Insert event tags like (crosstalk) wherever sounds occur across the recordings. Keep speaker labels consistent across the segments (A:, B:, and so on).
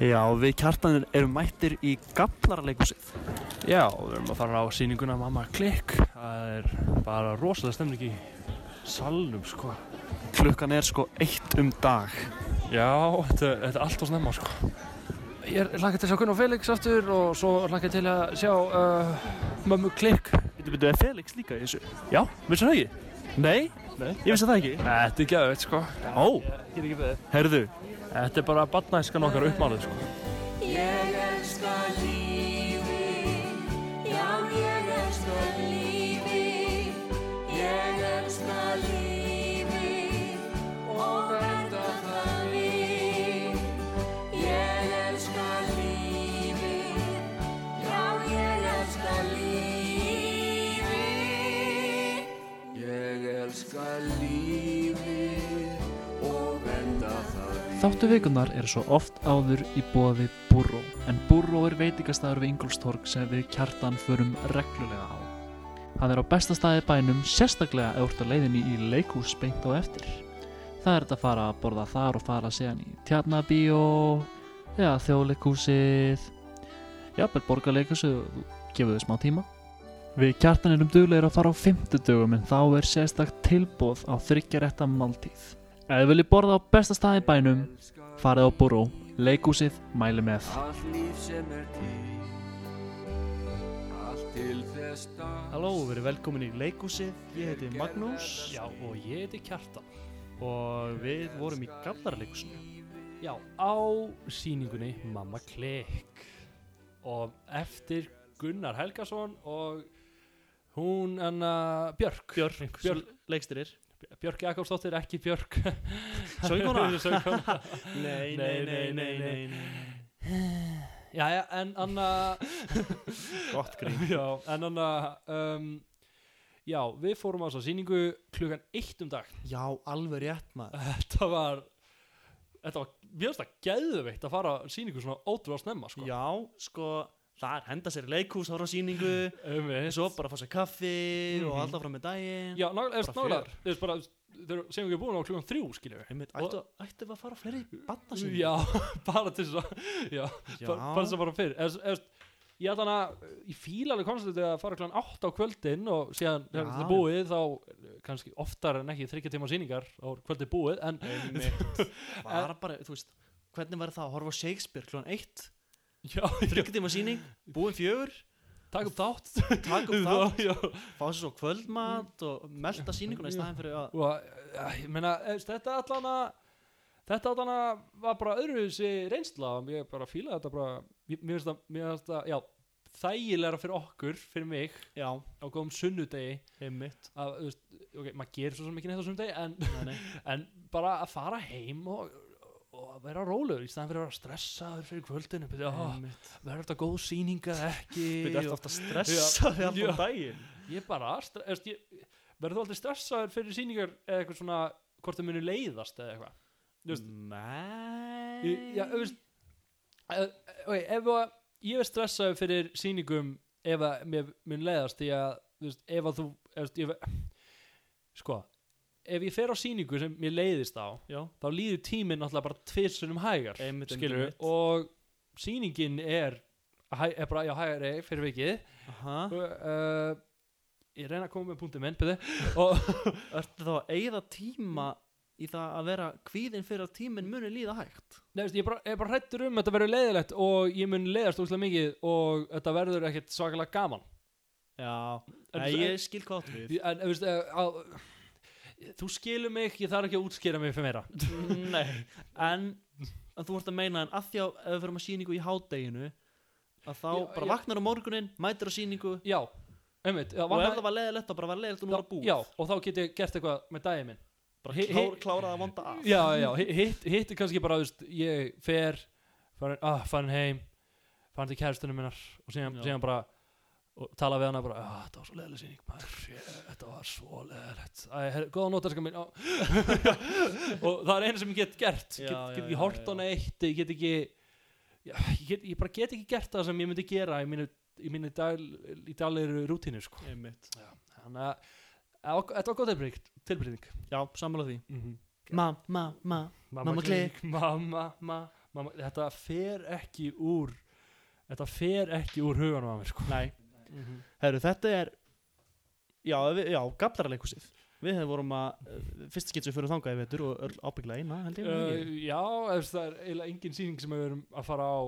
A: Já, við kjartanir erum mættir í Gaflaraleikúsið.
B: Já, við erum að fara á sýninguna Mamma Klikk. Það er bara rosalega stemning í salnum, sko.
A: Klukkan er sko eitt um dag.
B: Já, þetta, þetta er allt á snemma, sko.
C: Ég er hlakað til að sjá Gunn og Felix aftur og svo hlakað til að sjá uh, Mömmu Klikk.
A: Býttu, býttu, er Felix líka í þessu?
B: Já, vissum það ekki?
A: Nei,
B: Nei.
A: ég vissi það ekki.
B: Þetta er gæðið, sko.
A: Ó,
C: Ég er ekki beðið.
A: herðu,
B: Þetta er bara badnæskan okkar uppmálið, sko.
D: Ég elska lífið, já ég elska lífið, ég elska lífið og verða það líf. Ég elska lífið, já ég elska lífið, ég elska lífið og verða það líf.
E: Þáttu vikunar eru svo oft áður í boði Burró, en Burró er veitingastæður við Ingolstorg sem við kjartan förum reglulega á. Hann er á besta staði í bænum, sérstaklega ef þú ert á leiðinni í leikús beint á eftir. Það er þetta að fara að borða þar og fara síðan í tjarnabíó, eða þjóðleikúsið, jafnvel borgarleikúsið og gefið þau smá tíma. Við kjartan erum duglegir að fara á fimmtudögum en þá er sérstakt tilbóð á þryggjarétta máltíð. Ef þið viljið borða á besta staði í bænum, farið á Buró, leikúsið, mæli með.
D: Allt líf sem er til Allt til þess dag
A: Halló, við erum velkomin í leikúsið. Ég heiti Magnús.
B: Já, og ég heiti Kjartan.
A: Og við vorum í Gaflaraleikúsinu.
B: Já, á sýningunni Mamma Klikk og eftir Gunnar Helgason og hún enna Björk Björk, Björk,
A: Björn leikstyrir.
B: Björk Jakobsdóttir, ekki Björk
A: Söngkona?
B: (laughs) Söngkona
A: Nei,
B: nei, nei, nei, nei, Já, já, en anna
A: (laughs) Gott grín.
B: Já, en anna um, Já, við fórum á þess að sýningu klukkan eitt um dag
A: Já, alveg rétt maður.
B: Þetta var Þetta var, mér finnst það geðveitt að fara á sýningu svona ótrúlega snemma sko.
A: Já, sko, það er henda sér í leikús, horfa á sýningu,
B: um,
A: svo bara fá sér kaffi og
B: Mhm.
A: alltaf fram með daginn.
B: Já, nákvæmlega,
A: Bara
B: nákvæmlega, þú veist bara, þeir eru segjum ekki búin á klukkan þrjú, skiljum við.
A: Einmitt, ættu, ættu við að fara á fleiri barnasýningu?
B: Já, (laughs) bara til þess að, já,
A: Já.
B: bara bara til þess að fara fyrir. Eða, eða, þú veist, ég ætla hana, ég fíla alveg konstantið að fara klukkan átt á kvöldin og síðan
A: Já.
B: þegar þetta er búið þá, eh, kannski oftar en ekki þryggja tíma sýningar á kvöldið búið, en (laughs)
A: Einmitt. Bara bara, þú veist, hvernig væri það að horfa á Shakespeare klón 1,
B: já, já,
A: þryggtíma sýning, búin fjögur,
B: takk um þátt.
A: taka upp það,
B: (laughs) Já,
A: fá sér svo kvöldmat og melda sýninguna í staðin fyrir að...
B: og, eh, ég meina, eða, þú veist, þetta allan að, þetta allan að var bara öðruvísi reynsla og ég bara fíla þetta bara, ég- mér finnst það, mér finnst það, já, þægilega fyrir okkur, fyrir mig,
A: Já,
B: á góðum sunnudegi
A: einmitt.
B: að, þú veist, ok, maður gerir svo sem ekki neitt á sunnudegi en,
A: Nei, nei.
B: (laughs) en bara að fara heim og, og að vera rólegur í staðan fyrir að vera stressaður fyrir kvöldinu
A: Mm.
B: byrja, oh,
A: Einmitt.
B: verður þetta góð sýning eða ekki
A: (laughs) Við erum
B: og,
A: alltaf stressaði
B: Já.
A: allan daginn.
B: ég bara, stre- þú veist, ég, verður þú aldrei stressaður fyrir sýningar eða eitthvað svona hvort það muni leiðast eða eitthvað Þú veist-
A: Nei.
B: Ég- já, þú veist, eh, ok, ef að ég er stressaður fyrir sýningum ef að mér mun leiðast því að þú veist, ef að þú ef, þú- ef, sko ef ég fer á sýningu sem mér leiðist á
A: Já.
B: þá líður tíminn náttúrulega bara tvisunum hægar
A: Einmitt, einmitt,
B: skilurðu,
A: einmitt.
B: og sýningin er, hæ, er bara, já, hægari fyrir vikið
A: Aha.
B: uh, ég reyna að koma með punktum minn byrði, og
A: Ertu þá að eigða tíma í það að vera kvíðin fyrir að tíminn muni líða hægt?
B: Nefnst, ég, bara, ég bara hrættur um að þetta verður leiðilegt og ég mun leiðast úrslega mikið og þetta verður ekkert svakalega gaman
A: Já,
B: En-
A: Nei, ég skil hvað áttu við.
B: Ég- en þú veist eh, á- þú skilur mig, ég þarf ekki að útskýra mig fyrir meira
A: Nei, en, en þú ert að meina en að því að ef við fyrir að sýningu í hádeginu að þá
B: Já,
A: bara
B: já.
A: vaknar á morgunin, mætir á sýningu
B: já, einmitt já,
A: og
B: vantar-
A: ef það var leðilegt þá bara var leðilegt og nú var það búið.
B: já, og þá get ég gert eitthvað með daginn minn
A: bara
B: hi-
A: klár, klárað að vonda af.
B: já, já, hi- hitt, hitt er kannski bara þú veist, ég fer farin, ah, farin heim farin til kæristunum minnar og síðan,
A: Já.
B: síðan bara og tala við hana bara, ah, þetta var svo leðileg sýning maður, Shit, þetta var svo leðilegt Æ, her, góða nótarska mín Á. (laughs) og það er eina sem ég get gert
A: Já,
B: get,
A: já,
B: get
A: já,
B: ekki hort
A: já.
B: á neitt ég get ekki já, ég, get, ég bara get ekki gert það sem ég myndi gera í mínu, í mínu dag, í daglegri rútínu sko.
A: Einmitt.
B: þannig að að ok- þetta var góð tilbreyting- tilbreyting
A: Já, sammála því.
B: mm -hmm.
A: Ma, ma, ma. Mamma
B: Mamma klikk, mamma, ma, mamma, þetta fer ekki úr þetta fer ekki úr huganum að mér sko.
A: Nei, herru, þetta er Já, við, já gaflaraleikúsið Við hefum vorum að eh, Fyrst getum við fyrir þangað í vetur og öll ábyggla eina held ég
B: uh,
A: uh,
B: já, þess, það er eiginlega engin sýning sem við erum að fara á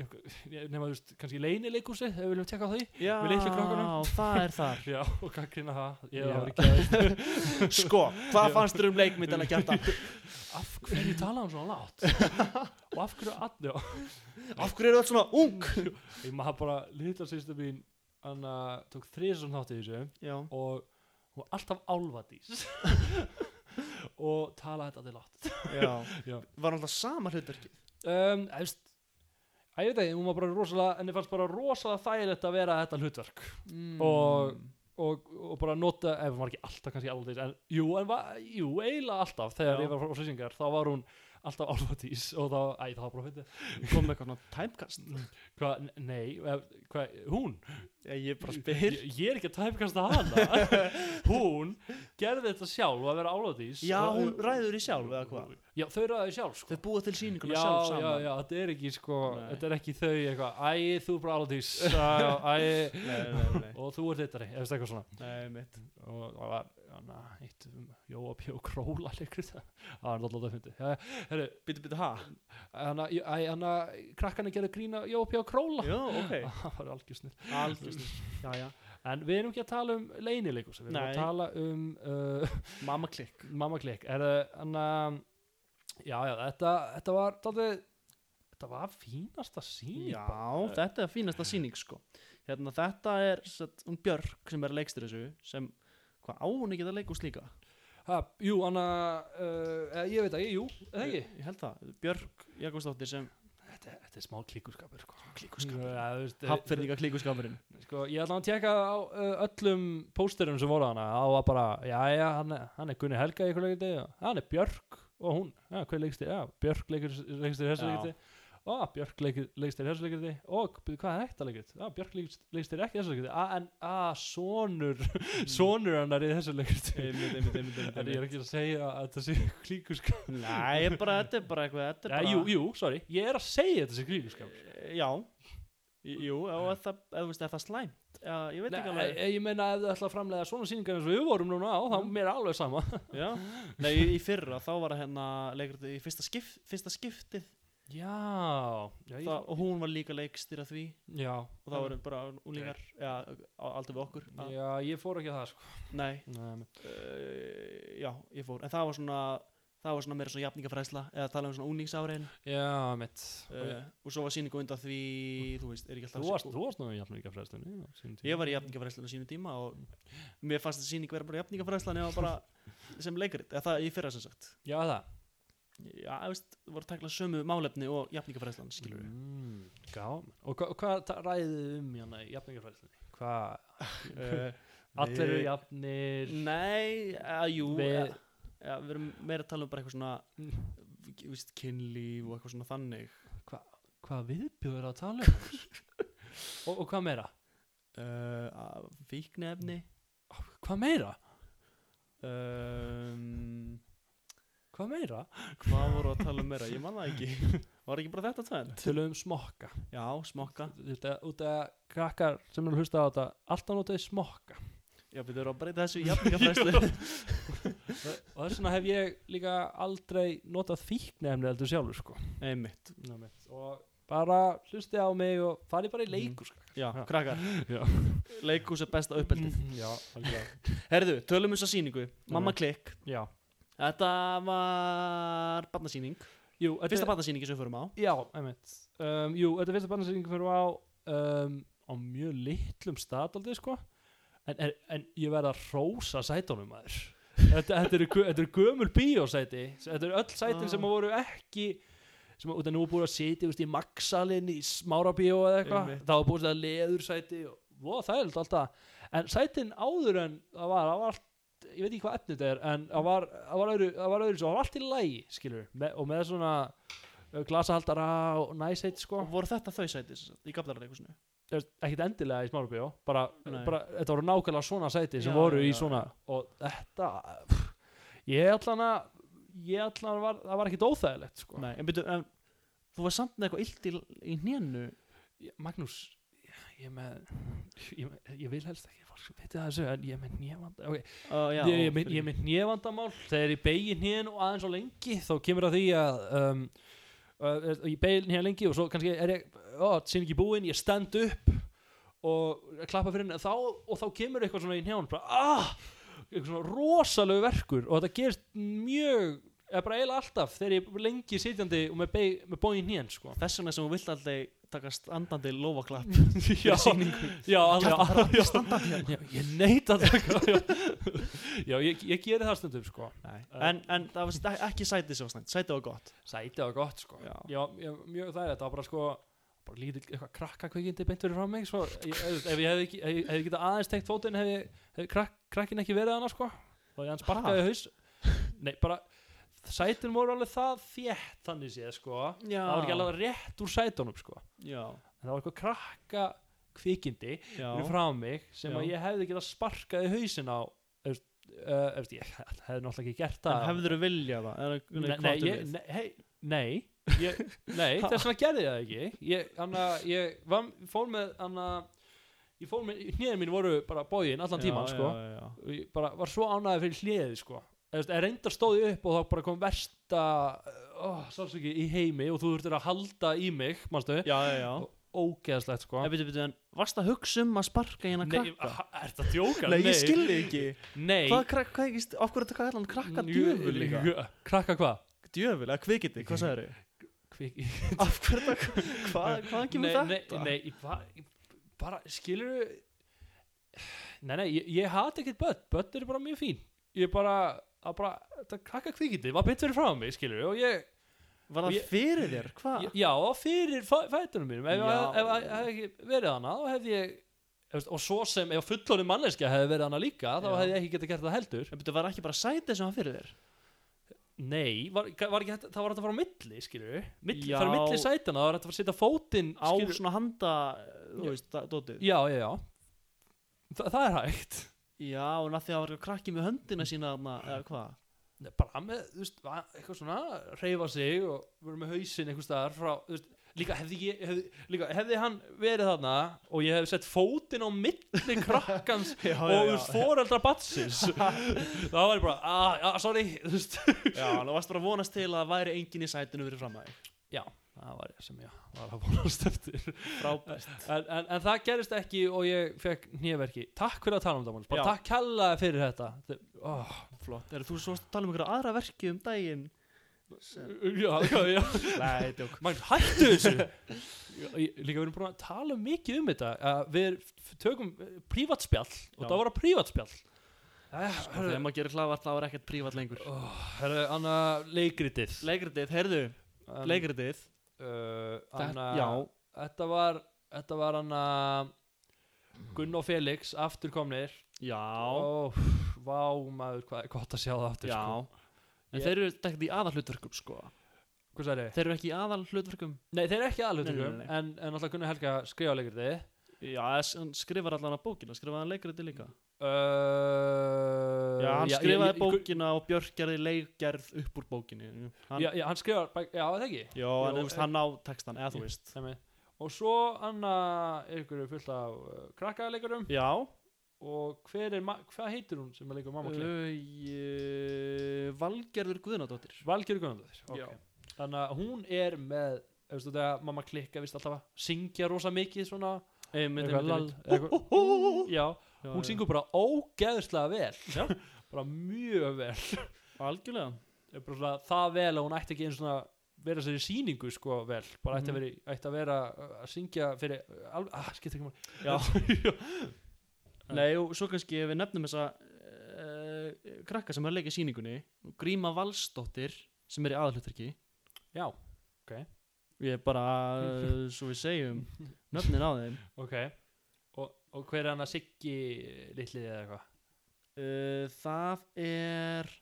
B: nema, þú veist, kannski leinileikúsi ef við viljum tjekka á því
A: Já,
B: við litlu krakkunum.
A: það er þar
B: já, og gaggrina það ég
A: Já.
B: var ekki að
A: (laughs) Sko, hvað fannst þér um leikmyndana kjarta?
B: (laughs) af hverju tala hann svona látt og af hverju allir
A: (laughs) Af hverju eru öll svona ung?
B: ég maður bara, litla sýstu mín hann uh, tók þriðsum þátt í þessu
A: Já,
B: og hún var alltaf (laughs) álvadís og talaði þetta til látt
A: já,
B: Já.
A: Var alltaf sama hlutverki
B: um, efst, að ég veit ekki, hún var bara rosalega henni fannst bara rosalega þægilegt að vera þetta hlutverk
A: mm.
B: Og- og, og bara nota, ef hún var ekki alltaf kannski álvadís, en jú, en va, jú eiginlega alltaf, þegar
A: Já.
B: ég var á sýsingar þá var hún alltaf álvadís og þá, æ, það var bara fyndið
A: Kom með eitthvað svona tæmkast
B: hvað, nei, eh, hvað, hún
A: Ég bara
B: ég,
A: spyr
B: ég er ekki að tæpkasta
A: (laughs)
B: hana hún gerði þetta sjálf að vera álvadís
A: Já,
B: Og-
A: hún ræður í sjálf eða hvað
B: Já, þau ræðu sjálf sko.
A: Þau búa til sýninguna
B: já,
A: sjálf
B: já,
A: saman
B: já, þetta er ekki sko
A: Nei.
B: þetta er ekki þau eitthvað, æ, þú er bara alveg
A: (laughs)
B: æ,
A: Nei, nei, nei,
B: og þú er litari, eða veist eitthvað svona
A: nei, mitt
B: og það var, já, na, eitt um Jóa P. og Króla leikur það það var alltaf að fyndi herru,
A: Býtu, býtu, ha?
B: hann að, æ, hann að krakkarnir gerðu grína Jóa P. og Króla
A: Já, ok
B: (laughs) það var algjörsnir
A: Algjörst Já, já
B: en við erum ekki að tala um leinileikus við erum
A: Nei.
B: að tala um uh,
A: Mamma klikk
B: Mamma klikk er það, hann að já, já, þetta, þetta var dálítið, þetta var fínasta síning
A: Já, þetta er
B: Eh.
A: fínasta sýning sko Hérna, þetta er satt, um Björk sem er leikstur þessu sem, hvað á hún ekki að leika úr slíka?
B: ha, jú, hann að uh, ég veit ekki, jú, eða ekki
A: Ég, ég held það, Björk Jakobsdóttir sem
B: þetta, þetta er smá klíkuskapur sko.
A: klíkuskapur.
B: Já, þú veist, eh,
A: hafnferðinga klíkuskapurinn
B: (laughs) sko, ég ætla að tjekka á uh, öllum pósterum sem voru hana á að bara, já, já, hann, er- hann er Gunni Helga í ykkur leikindi, hann er Björk og hún, já, hver leiksti, já, Björk leikur leikstir í þessu
A: Já.
B: leikindi og Björk leikur, leikstir í þessu leikindi og byrju, hvað er þetta leikrit, já, Björk leikst- leikstir ekki í þessu leikindi, a, en, a, sonur sonur hennar í þessu leikindi en ég er ekki að segja að þetta sé (laughs) klíkuskap
A: Nei, ég bara, þetta er bara eitthvað þetta er
B: já,
A: bara, Eh,
B: jú, jú, sorry, ég er að segja þetta sé klíkuskap
A: Já, Í- jú, og er það, ef, þú veist, er það slæmt Já, ég veit
B: Nei,
A: ekki alveg
B: ég meina ef þið ætla að framlega svona sýningar eins og við vorum núna á, þá mér er alveg sama
A: Já, nei, í- í fyrra þá var það hérna leikrið í fyrsta, skip, fyrsta skiptið
B: (laughs) Já, já, ég,
A: það, og hún var líka leikstýra því
B: já,
A: og það voru bara úlingar ja, á aldrei við okkur að,
B: já, ég fór ekki að það sko.
A: Nei,
B: Nei,
A: uh, já, ég fór en það var svona, það var svona meira svona jafningafræðsla eða tala um svona úningsárein
B: já, mitt
A: uh, og svo var síningu undan því þú veist, er ekki alltaf
B: Mm. Þú varst, þú varst nú jafnum ekki að frestunni
A: ég var í jafningafræðslan á sínum tíma og mér fannst þessi síning vera bara jafningafræðslan eða
B: (laughs)
A: bara sem leikrit, eða það í fyrra sem sagt
B: Já, það
A: já, þú veist, það voru að tekla sömu málefni og jafningafræðslan, skilur við
B: mm, Gáman Og hva- og hvað hva ræðið þið um hérna í jafnum ekki að frestunni? Hvað? Mm. Allir eru
A: við-
B: jafnir
A: Eh, nei, að jú
B: Við-
A: eh, ja, við erum meira að tala um bara eitthvað svona þú veist, kynlíf og eitthvað svona þannig
B: Hvað viðbjóður að tala um? (laughs) og, og hvað meira?
A: uh, fíknefni
B: Hvað meira?
A: um,
B: Hvað meira?
A: hvað voru að tala um meira, ég man það ekki (laughs) var ekki bara þetta tvend
B: Tölum um smokka
A: já, smokka,
B: Þetta, út að krakkar sem eru að hlusta á þetta Alltaf notaði smokka
A: já, við þurfum að breyta þessu í
B: (laughs)
A: jafningafræðslu
B: og þess vegna hef ég líka aldrei notað fíknefni heldur sjálfur sko.
A: einmitt,
B: og bara hlustið á mig og farið bara í leikur sko.
A: já,
B: Já.
A: krakkar
B: Já.
A: leikús er besta uppeldið
B: Mm, já, algjörlega.
A: herðu, tölum þess að síningu, mamma
B: Mhm.
A: klikk
B: já.
A: þetta var barnasýning,
B: Jú, þetta
A: fyrsta
B: er-
A: barnasýningi sem við förum á
B: já, einmitt um, jú, þetta er fyrsta barnasýningu fyrir á um, á mjög litlum staðaldið sko. en, en, en ég verð að rósa sætunum maður þetta, þetta eru gö- þetta eru gömul bíósæti þetta eru öll sætin
A: Ah.
B: sem að voru ekki sem að út að nú er búið að sitja þú veist, í maksalinn í smára bíó eða eitthvað
A: Einmitt.
B: þá var búið að leður sæti og vó, það er alltaf en sætin áður en það var, það var allt ég veit ekki hvað efnið þetta er en það var, það var öðru það var öðru það var allt í lægi skilur með, og með svona uh, glasahaldara og næsheit sko
A: og voru þetta þau sæti sem sagt, í gaflaraleikúsinu
B: Þú veist, ekkit endilega í smárabíó bara,
A: Nei.
B: bara þetta voru nákvæmlega svona sæti sem
A: Já,
B: voru
A: já,
B: í
A: já,
B: svona og þetta pff, ég ætla hana ég ætla hana var, það var ekkit óþægilegt sko
A: nei, en byrju, en þú var samt með eitthvað illt í, í hnénu
B: Já, Magnús ég, ég með ég, með- ég vil helst ekki að fólk veit það þessu en ég er með nýjavanda okay.
A: uh, já,
B: ég, ég, er með- ég er með nýjavandamál þegar ég beigi nýjan og aðeins á lengi þá kemur að því að um, uh, ég beigi nýjan lengi og svo kannski er ég ó, sín ekki búinn, ég stend upp og klappa fyrir henni þá, og þá kemur eitthvað svona í nján bara, ah, eitthvað svona rosalegu verkur og þetta gerist mjög eða bara eiginlega alltaf þegar ég er lengi sitjandi og með, beig- með bóin nýjan (laughs) sko.
A: þess vegna sem hún vill alltaf takast andandi lófaklapp
B: Mm. Já.
A: fyrir sýningu
B: já, alveg,
A: Kjartan, það er
B: já,
A: allir standandi
B: já, ég neita að taka já, (laughs) já ég, ég geri það stundum sko.
A: Nei. en, en það var st- ekki sætið sem var snætt sætið var gott
B: sæti var gott sko.
A: Já.
B: já, ég, mjög það það var bara sko bara lítill eitthvað krakkakveikindi beint fyrir frá mig svo, ég, ef, ef ég hefði ekki, hef, hef getað aðeins teikt fótinn hefði hef krak, krakkin ekki verið hana sko og ég hann sparkaði í haus nei, bara sætin voru alveg það þétt þannig séð sko
A: já,
B: það var ekki alveg rétt úr sætunum sko en
A: já,
B: það var eitthvað krakka
A: já,
B: fyrir frá mig sem
A: Já.
B: að ég hefði getað sparkað í hausin á eftir, uh, eftir, ég hefði náttúrulega ekki gert
A: en
B: það
A: hefður þú viljað það Er-
B: Nei,
A: hvað
B: nei,
A: áttu
B: ég,
A: við?
B: nei, hei, nei, ég, nei þess vegna gerði ég það ekki ég, anna, ég var, fór með anna, ég fór með, hnýðin mín voru bara bógin allan tíman
A: já,
B: sko
A: já, já, já.
B: og ég bara var svo ánæði fyrir hliðið sko Eðast, reyndar stóði upp og þá bara kom versta oh, sálsöki í heimi og þú þurftir að halda í mig manstu,
A: já, já, já.
B: ógeðslegt sko
A: En, byrju, byrju, en varst að hugsa um að sparka í hennar
B: Nei,
A: krakka?
B: er þetta djóka?
A: Nei, ég skilði ekki
B: Nei
A: Hvað krakka, hvað ekki, af hverju þetta kallar hann krakka djöful líka?
B: Krakka hvað?
A: Djöful, eða kvikindi, hvað sagður
B: (laughs)
A: þau?
B: Kvik
A: Af hverju þetta, hvað, hvað kemur
B: nei,
A: þetta?
B: Nei, nei, hva, bara, skilur Nei, nei, ég, ég hati ekkert börn Börn eru bara mjög fín Ég bara, að bara, þetta krakka kvikindi Var betur frá mig, skilur Og ég,
A: Var
B: og
A: það
B: ég-
A: fyrir þér, hvað?
B: ég já, fyrir fæ- fætunum mínum Ef
A: Já.
B: ég hefði ekki verið hana Þá hefði ég, efst, og svo sem Ef fullorinn manneskja hefði verið hana líka Þá
A: Já.
B: hefði ég ekki getað gert það heldur
A: En byrju, var ekki bara sætið sem var fyrir þér?
B: Nei, var, var ekki, hægt- það var hægt að fara á milli, skilur milli,
A: Já.
B: Það var milli sætana, það var hægt að fara að setja fótinn
A: Á
B: skilurðu.
A: svona handa, eh, þú veist, da- dótið?
B: Já, já, já Þa, Það er hægt
A: Já, en að því að það var eitthvað krakki með höndina sína, þarna, eða hvað?
B: Nei, bara með, þú veist, va- eitthvað svona reyfa sig og vera með hausinn einhvers staðar frá, þú veist, líka hefði ég hefði, líka hefði hann verið þarna og ég hefði sett fótinn á milli krakkans
A: Já,
B: og þú veist, foreldra batsins þá var ég bara, ah, já, sorry þú veist,
A: Já, (laughs) þú varst bara að vonast til að það væri engin í sætinu fyrir fram að þig.
B: það var ég sem ég var að vonast eftir en,
A: Frábært.
B: en, en það gerist ekki og ég fekk nýjaverki, takk fyrir að tala um það Magnús. bara
A: Já.
B: takk kalla fyrir þetta Þe- ó,
A: Flott. Er þú svo að tala um einhverja aðra verki um daginn?
B: já, já, já
A: Nei, djók.
B: Magnús, hættu þessu Ég- Líka við erum búin að tala mikið um þetta að Við f- tökum eh, prívatspjall og
A: Já.
B: það var að prívatspjall Eh,
A: Sko, þegar maður gerir hlaðvart, þá er ekkert prívat lengur.
B: Herra, anna leikritið
A: Leikritið, heyrðu,
B: um,
A: leikritið.
B: uh,
A: Þetta-
B: anna,
A: já.
B: Þetta var Þetta var anna Gunn og Felix afturkomnir
A: Já,
B: Ó, Vá maður, hvað er gott að sjá það aftur
A: já.
B: sko.
A: En
B: Ég-
A: þeir eru ekkert í aðal hlutverkum, sko.
B: Hvað sagði?
A: Þeir eru ekki í aðal hlutverkum.
B: Nei, þeir eru ekki
A: Nei,
B: aðlutökum
A: nei, nei.
B: En, en alltaf Gunnar Helga skrifa leikritið
A: Já, s- hann skrifar allan að bókina, skrifaði hann leikritið líka.
B: uh,
A: Já, hann
B: Eh, ég-
A: skrifaði
B: ég-
A: bókina og Björk gerði leikgerð upp úr bókinni. Hann,
B: já, já, hann skrifar bæk, já, það ekki
A: já, en
B: Jú,
A: þú veist, hann á textan, eða þú
B: Ég-
A: veist.
B: Nei, og svo anna er ykkur fullt af uh, krakkaleikurum
A: Já,
B: og hver er, ma- hvað heitir hún sem er leikur mamma klið?
A: Ö, ég- eh, Valgerður Guðnadóttir.
B: Valgjörg Guðnandóttir
A: Uh, Já.
B: okay. þannig að hún er með eftir þetta að mamma klikka vist alltaf að syngja rosa mikið svona
A: Einmitt,
B: eitthvað lall,
A: einmitt,
B: eitthvað-
A: einmitt.
B: já,
A: Já,
B: hún
A: já.
B: syngur bara ógeðslega vel (laughs) bara mjög vel
A: Algjörlega.
B: er bara svona það vel að hún ætti ekki einu svona vera sér í sýningu sko vel bara
A: Mhm.
B: ætti, að vera, í- ætti að vera uh, að syngja fyrir uh, alveg, að skipta ekki máli já,
A: Nei, og svo kannski ef við nefnum þessa uh, krakka sem er að leika í síningunni Gríma Valsdóttir sem er í aðalhutverki
B: já,
A: ég er bara, uh, svo við segjum nöfnin á þeim
B: ok og, og hver er hann að siggi litlið eða eitthvað
A: uh, það er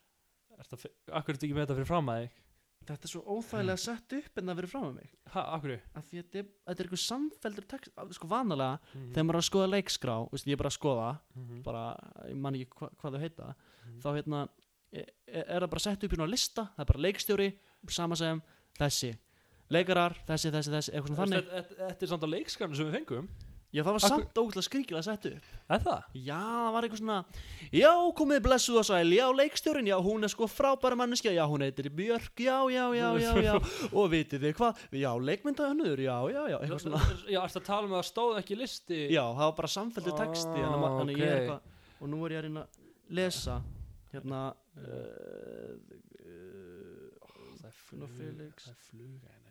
B: Ertu að fi- akkur ertu ekki með þetta fyrir fram að þig
A: þetta er svo óþægilega sett upp en það verið fram með mig
B: ha, akkur,
A: af því að þetta er, þetta er einhver samfeldur text af- sko vanalega,
B: Mhm.
A: þegar maður er að skoða leikskrá veist, ég er bara að skoða,
B: Mhm.
A: bara ég man ekki hva, hvað þau heita þá hérna, er, er það bara sett upp í náttúrulega lista það er bara leikstjóri, sama sem þessi leikarar, þessi, þessi, þessi, eitthvað svona þannig
B: Þetta þetta- þetta er samt að leikskarnu sem við fengum
A: já það var
B: Akkur-
A: samt ógætlega skringilega settu
B: Er það?
A: já það var eitthvað svona já komið blessuð og sæl, já leikstjórin já hún er sko frábæra manneskja, já hún heitir Björk já já já já já og vitið þið hvað, já leikmynda önnur já já já, eitthvað svona
B: Já, ertu að tala um að það stóð ekki í listi
A: já það var bara samfelldu texti þannig að ma-
B: Ah,
A: þannig að ég er
B: ok.
A: eitthvað og nú er ég að reyna að lesa hérna uh,
B: Það er
A: Gunnar Felix.
B: Það er fluga í henni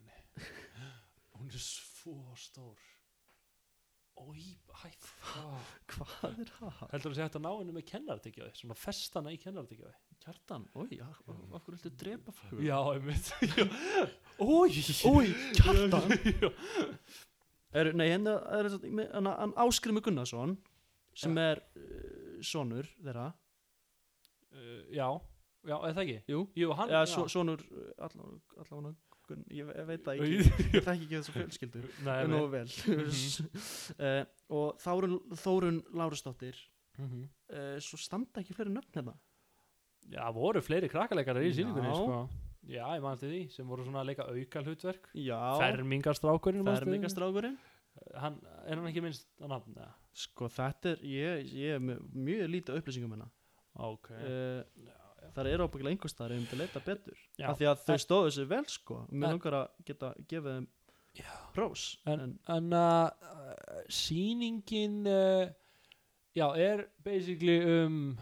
B: Hún er svo stór Ói, hæ
A: hvað er það?
B: Heldur þú að þetta ná henni með kennarartekjaði Svona festana í kennarartekjaði
A: Kjartan, oi, af af hverju viltu drepa fólk?
B: Já, einmitt (laughs)
A: Ói, ói, kjartan er, Nei, hérna er þetta- með- hann, hann Áskrimur Gunnarsson sem er uh, sonur þeirra
B: Uh, Já, já, eða það ekki
A: Jú,
B: Jú, hann
A: eða so, sonur eh, allan ég, ég veit það ekki
B: Nei,
A: ég þekki ekki þessu fjölskyldur
B: nei.
A: nú vel
B: Mhm.
A: (laughs) uh, og Þórun, Þórun Lárusdóttir
B: Mhm.
A: uh, svo standa ekki fleiri nöfn hérna
B: Já, voru fleiri krakkaleikarar í
A: Já.
B: síningunni sko. Já, ég mann til því sem voru svona að leika auka hlutverk
A: já,
B: Fermingastrákurinn manstu?
A: fermingastrákurinn
B: hann, Er hann ekki minnst að nafn? eða?
A: sko þetta er, ég, ég er með mjög lítið upplýsingum hérna
B: Ok
A: uh, þar eru ábyggilega einhvers þar ef um til að leita betur
B: Já.
A: af því að þau
B: En-
A: stóðu sér vel sko
B: En-
A: mér langar að geta gefið þeim rós en,
B: en, en uh, sýningin uh, já, er basically um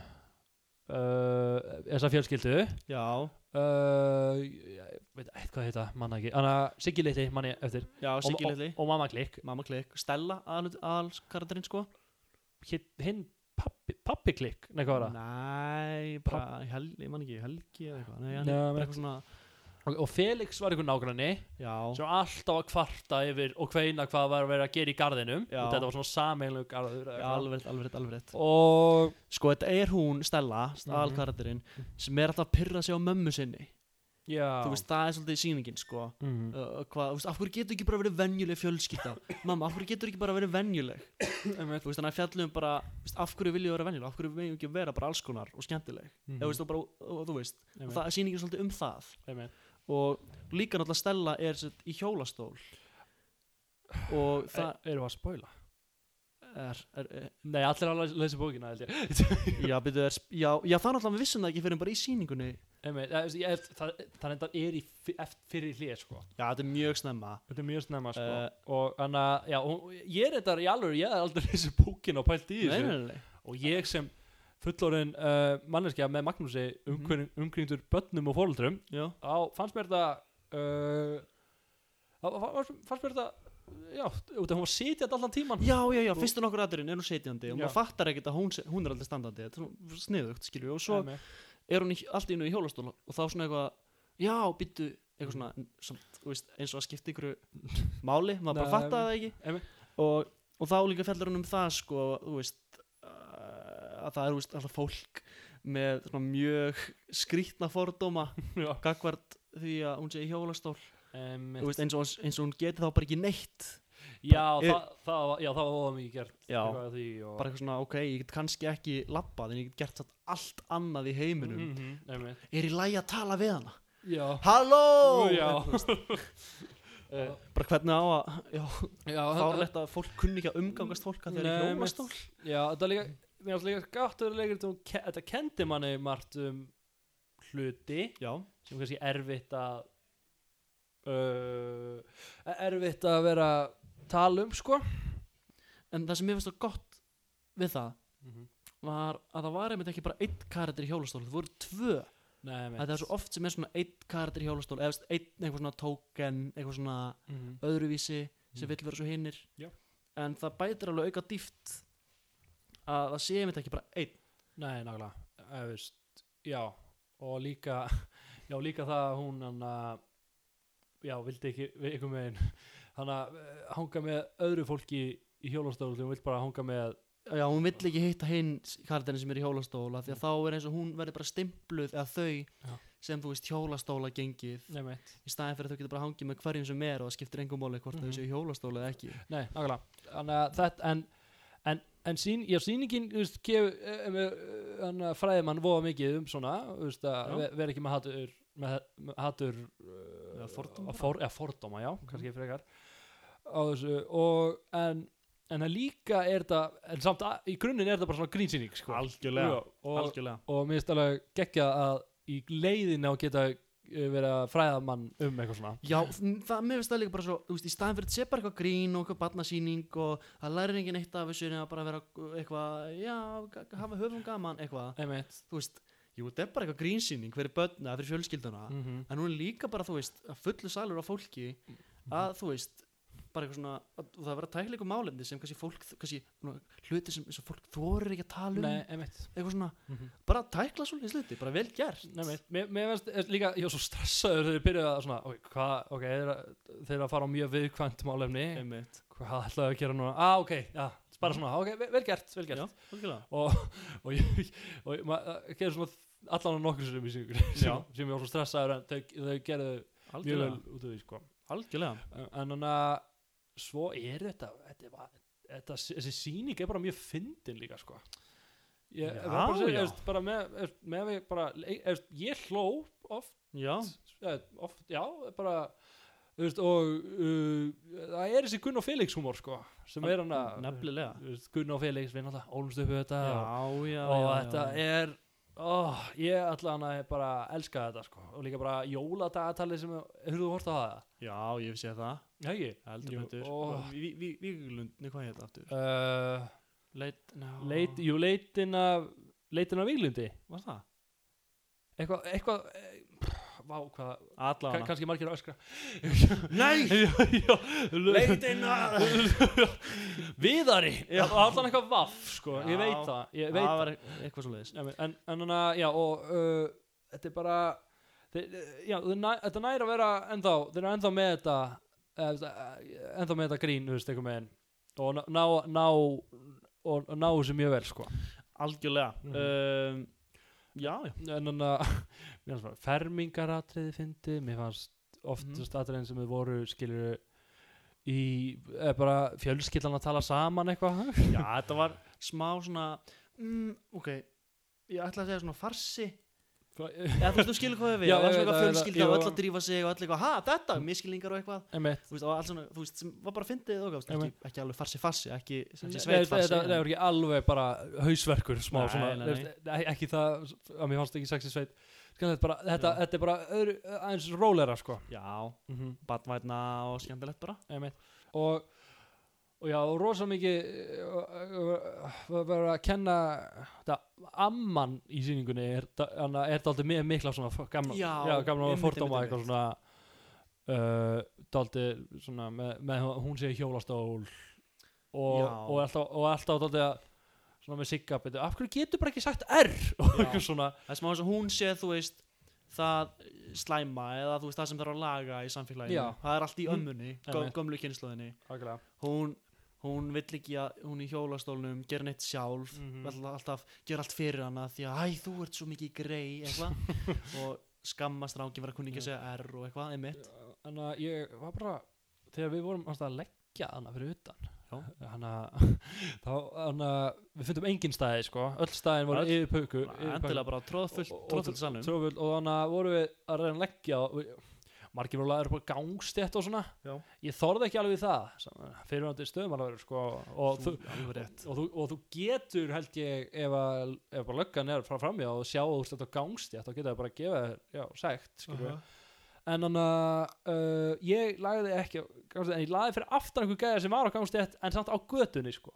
B: uh, þessa fjölskyldu uh,
A: já,
B: ég veit eitthvað heita, manna ekki Anna, Siggi Leiti, manni eftir
A: já, Siggi
B: og,
A: Lilli
B: og, og mamma Klikk
A: mamma klikk, Stella aðalskaraterinn sko
B: Hinn- hinn pappi, pappi Klikk nei, hvað var það?
A: næ, bara, hel, ég man ekki Helgi eða eitthvað, nei, hann
B: Nei,
A: er
B: men-
A: bara eitthvað svona
B: Og, og Felix var einhver nágranni
A: já,
B: sem alltaf að kvarta yfir og hveina hvað var að vera að gera í garðinum
A: Já.
B: og þetta var svona sameinlug garður eða
A: já
B: eitthvað.
A: alveg, rétt, alveg, rétt, alveg rétt
B: og
A: sko, þetta er hún, Stella,
B: Mhm.
A: aðalkaraterinn sem er alltaf að pyrra sig á mömmu sinni
B: já
A: þú veist, það er svolítið sýningin sko
B: mm.
A: uh, hvað, þú veist, af hverju getur ekki bara verið venjuleg fjölskylda (laughs) mamma, af hverju getur ekki bara verið venjuleg þú veist, þannig að fjallum bara þú veist, af hverju viljum við vera venjuleg, af hverju viljum við ekki vera bara alls konar og skemmtileg, mm.
B: mhm.
A: þú veist, og bara, og, og, þú veist og það er sýningin svolítið um það
B: Amen.
A: og líka náttúrulega Stella er sett, í hjólastól og það
B: það eru að spoila
A: Eh, er, er, eh, er
B: Nei, allir að les- lesa bókina held ég
A: já, byrju, er, já, já, það náttúrulega við vissum það ekki fyrir bara í sýningunni
B: Einmitt, eða, þú veist, ég- Það það reyndar er í fi- eft- fyrir hlið sko.
A: já, þetta er mjög snemma
B: Þetta er mjög snemma sko.
A: Eh.
B: Og þannig að já, og Ég er þetta í alveg Ég er aldrei lesið bókina og pælt í
A: nei,
B: þessu
A: nei, nei, nei.
B: Og ég sem fullorinn uh, manneskja með Magnúsi
A: Mhm.
B: umkring, umkringdur börnum og fóreldrum
A: Já.
B: þá fannst mér þetta uh, þá fa- fannst mér þetta já, út af hún var sitjað allan tíman
A: já, já, já, fyrstu nokkur aðurinn er hún setjandi og
B: Já.
A: maður fattar ekkert að hún, se- hún er aldrei standandi þetta er svona sniðugt, skilju, og svo er hún í, allt í einu í hjólastóla og þá svona eitthvað, já, býttu eitthvað svona, samt, þú veist, eins og að skipta ykkur máli, maður bara
B: Nei,
A: fattaði það ekki
B: einmitt.
A: og, og þá líka fellur hún um það sko, þú veist uh, að það er, þú veist, alltaf fólk með svona mjög skrýtna fordóma
B: Já.
A: gagvart því að hún sé í hjólastól
B: um,
A: þú veist, eins, og, eins og hún geti þá bara ekki neitt
B: já,
A: Er-
B: það, það, var- já, það var ofan mikið gert
A: Já.
B: eitthvað að því og...
A: bara eitthvað svona, ok, ég get kannski ekki labbað en ég get gert satt allt annað í heiminum
B: mm -hmm,
A: er í lægi að tala við hana
B: já,
A: Halló!
B: já, (laughs)
A: Eh, bara hvernig á að já,
B: já
A: þá
B: það-
A: er þetta að fólk kunni ekki að umgangast fólk að þeir eru
B: Nei,
A: hjólastól
B: já, þetta er líka mér fannst líka skatt að vera leikur um, þetta kendi manni margt um hluti
A: já,
B: sem kannski erfitt að uh, erfitt að vera að tala um sko
A: en það sem mér finnst það gott við það
B: Mhm.
A: var að það var einmitt ekki bara einn karakter í hjólastól, það voru tvö
B: Nei,
A: að það er svo oft sem er svona einn karakter í hjólastól eða veist, einn eitthvað svona tóken eitthvað svona
B: mm
A: öðruvísi sem
B: Mm.
A: vill vera svo hinnir
B: Já.
A: en það bætir alveg auka dýft að það sé einmitt ekki bara einn
B: Nei, nákvæmlega Eða, þú veist, Já, og líka (laughs) Já, líka það að hún hann að Já, vildi ekki við ykkur megin hann að eh, hanga með öðru fólki í hjólastólu og vill bara hanga með
A: já, hún vill ekki hitta hinn karakterin sem er í hjólastóla því að þá er eins og hún verður bara stimpluð eða þau
B: Mm. Já.
A: sem þú veist hjólastóla gengið
B: Nei, meitt
A: í staðin fyrir að þau getur bara hangið með hverjum sem er og það skiptir engum máli hvort mm
B: Mhm.
A: þau séu í hjólastóla eða ekki
B: Nei, nákvæmlega Þannig að þetta en En, en sín, já, sýningin þú veist, gef, um, um, fræði mann voða mikið um svona þú veist, að
A: Já.
B: ve- vera ekki með hatur með, með hatur uh,
A: eða fordóma? Mhm.
B: að for, eða fordóma, já, kannski frekar á þessu og en, en það líka er það en samt að, í grunninn er það bara svona grínsýning sko.
A: algjörlega,
B: Já, og,
A: algjörlega
B: og mér finnst alveg geggja að í leiðin á geta eh, verið að fræða mann um eitthvað svona
A: Já, það, mér finnst það líka bara svo, þú veist, í staðin fyrir að sé bara eitthvað grín og eitthvað barnasýning og það lærir enginn eitt af þessu en að bara vera eitthvað, já, g- hafa höfum gaman, eitthvað,
B: einmitt
A: þú veist, jú, þetta er bara eitthvað grínsýning fyrir börna, fyrir fjölskylduna,
B: mm -hmm.
A: en hún er líka bara, þú veist, að fullu salur á fólki að, þú veist, bara eitthvað svona, að, og það vera tækleikum málefni sem kannski fólk, kannski, svona, hluti sem, sem fólk þorir ekki að tala um,
B: Nei, einmitt
A: eitthvað svona,
B: Mhm.
A: bara tækla svona hluti, bara vel gert.
B: Nei, mér, mér, mér veist er líka, ég var svo stressaður þegar ég byrjaði að svona, ok, hvað, ok, þeir eru að- þeir eru að fara á mjög viðkvæmt málefni,
A: Einmitt.
B: hvað ætlaðu að gera núna, ah, ok, já, bara svona, ok, vel, vel gert, vel gert.
A: Já, algjörlega.
B: og, og, ég, og ég- maður það gerði svona allan á nokkur sem í síningur (laughs) sem, sem ég var svo stressaður en þau, þau gerðu mjög vel
A: Algjörlega.
B: út af því sko.
A: Algjörlega.
B: en þannig að svo er þetta, þetta, var, þetta þessi síning er bara mjög fyndin líka sko. ég,
A: Já,
B: það var bara,
A: já.
B: Ég, veist, bara með, ég, með við bara, ég, veist, ég hló oft,
A: Já,
B: eh, oft já, bara þú Veist, og uh, það er þessi Gunn og Felix humor sko, sem er hann að
A: nefnilega.
B: Gunn og Felix við náttúrulega ólumst upp við þetta og
A: já, já,
B: og
A: já,
B: þetta
A: já.
B: er oh, ég allan að bara elska þetta sko. og líka bara jóladagatali sem hefur þú hort á það?
A: já, ég hef séð það
B: Já, ég
A: heldur
B: Jú,
A: betur
B: ó.
A: Víglund, nei hvað heit það aftur
B: uh,
A: Leit, no.
B: leit, Jú, leitin af leitin af Víglundi
A: var það?
B: eitthvað eitthva, vá, hvað ka-
A: Allána
B: kannski margir að öskra (laughs)
A: Nei,
B: leitin
A: leitina
B: (laughs) viðari, það var allan eitthvað vaff sko.
A: Já.
B: ég veit það, ég veit
A: Það var eit- eitthvað svo leiðis
B: Já, men- en, en hana, já, og uh, þetta er bara þeir, já, þeir næ, þetta næri að vera ennþá, þeir eru ennþá með þetta eh, þú veist, eh, ennþá með þetta grín, þú veist, einhver megin og ná, ná, ná og ná þessu mjög vel, sko
A: Algjörlega
B: Mhm.
A: um, Já, já
B: en þannig að (laughs) mér fannst bara fermingaratriði fyndi, mér fannst oftast
A: Mhm.
B: mm. atriðin sem þau voru, skilur í, eða bara fjölskyldan að tala saman eitthvað
A: (laughs) Já, þetta var smá svona mm, Ok, ég ætla að segja svona farsi Eða þú veist, þú skilur hvað ég við
B: Já,
A: Það var
B: ég
A: svona
B: veit
A: eitthvað
B: það, ég veit
A: fjölskylda
B: það,
A: og
B: jú.
A: öll að drífa sig og öll eitthvað Ha, þetta, miskilningar og eitthvað
B: einmitt
A: Þú veist, og allt svona, þú veist, sem var bara fyndið og gafst ekki,
B: Einmitt.
A: ekki alveg farsi farsi, ekki,
B: Nei,
A: ekki
B: nei,
A: sveit farsi
B: þetta þetta
A: en-
B: er ekki alveg bara hausverkur smá
A: Nei,
B: svona,
A: nei,
B: nei, ekki það að mér fannst ekki sexi sveit Skal þetta, bara,
A: Já.
B: þetta,
A: Mhm.
B: þetta er bara öðru, aðeins rólera sko
A: Já,
B: mm -hmm.
A: batvætna og skemmtilegt bara
B: og, og já, og rosa mikið var verið að kenna þetta, amman í sýningunni er, da- hann er það aldrei mjög mikla svona f- gamla,
A: Já,
B: gamla
A: einmitt,
B: fordóma
A: einmitt,
B: eitthvað svona uh, daldi svona með, með hún sé í hjólastól og,
A: Já.
B: og alltaf, og alltaf daldi að svona með sigga betur, af hverju getur bara ekki sagt R (laughs) og eitthvað svona
A: Það er smá eins og hún sé, þú veist það slæma eða þú veist það sem þarf að laga í samfélaginu
B: Já. Mhm.
A: það er allt í ömmunni, göm,
B: Einmitt.
A: gömlu kynnslóðinni
B: Akkurat.
A: hún, hún vill ekki að hún í hjólastólnum gera neitt sjálf
B: Mhm.
A: vill alltaf gera allt fyrir hana því að æ, þú ert svo mikið grei
B: (laughs)
A: eitthvað og skammast ráki vera kunni ekki að segja R og eitthvað, einmitt
B: en að ég var bara þegar við vorum hans, að leggja hana fyrir utan
A: Já.
B: hann að (laughs) þá hann að við fundum engin staði sko öll staðin voru
A: Öll?
B: yfir pöku
A: endilega bara tróðfullt, tróðfullt sannum
B: tróðfull og þannig að voru við að reyna að leggja og við, margir voru laður upp á gangstétt og svona
A: Já.
B: ég þorði ekki alveg í það sem fyrirvændi stöðum alveg sko og þú,
A: alveg rétt
B: og, þú, og þú getur held ég ef, að, ef bara löggan er frá framjá og sjá þú stöðt á gangstétt þá getur það bara að gefa þér, já, sekt skilur en hann að uh, ég lagði ekki á gangstétt, en ég lagði fyrir aftan einhver gæja sem var á gangstétt en samt á götunni sko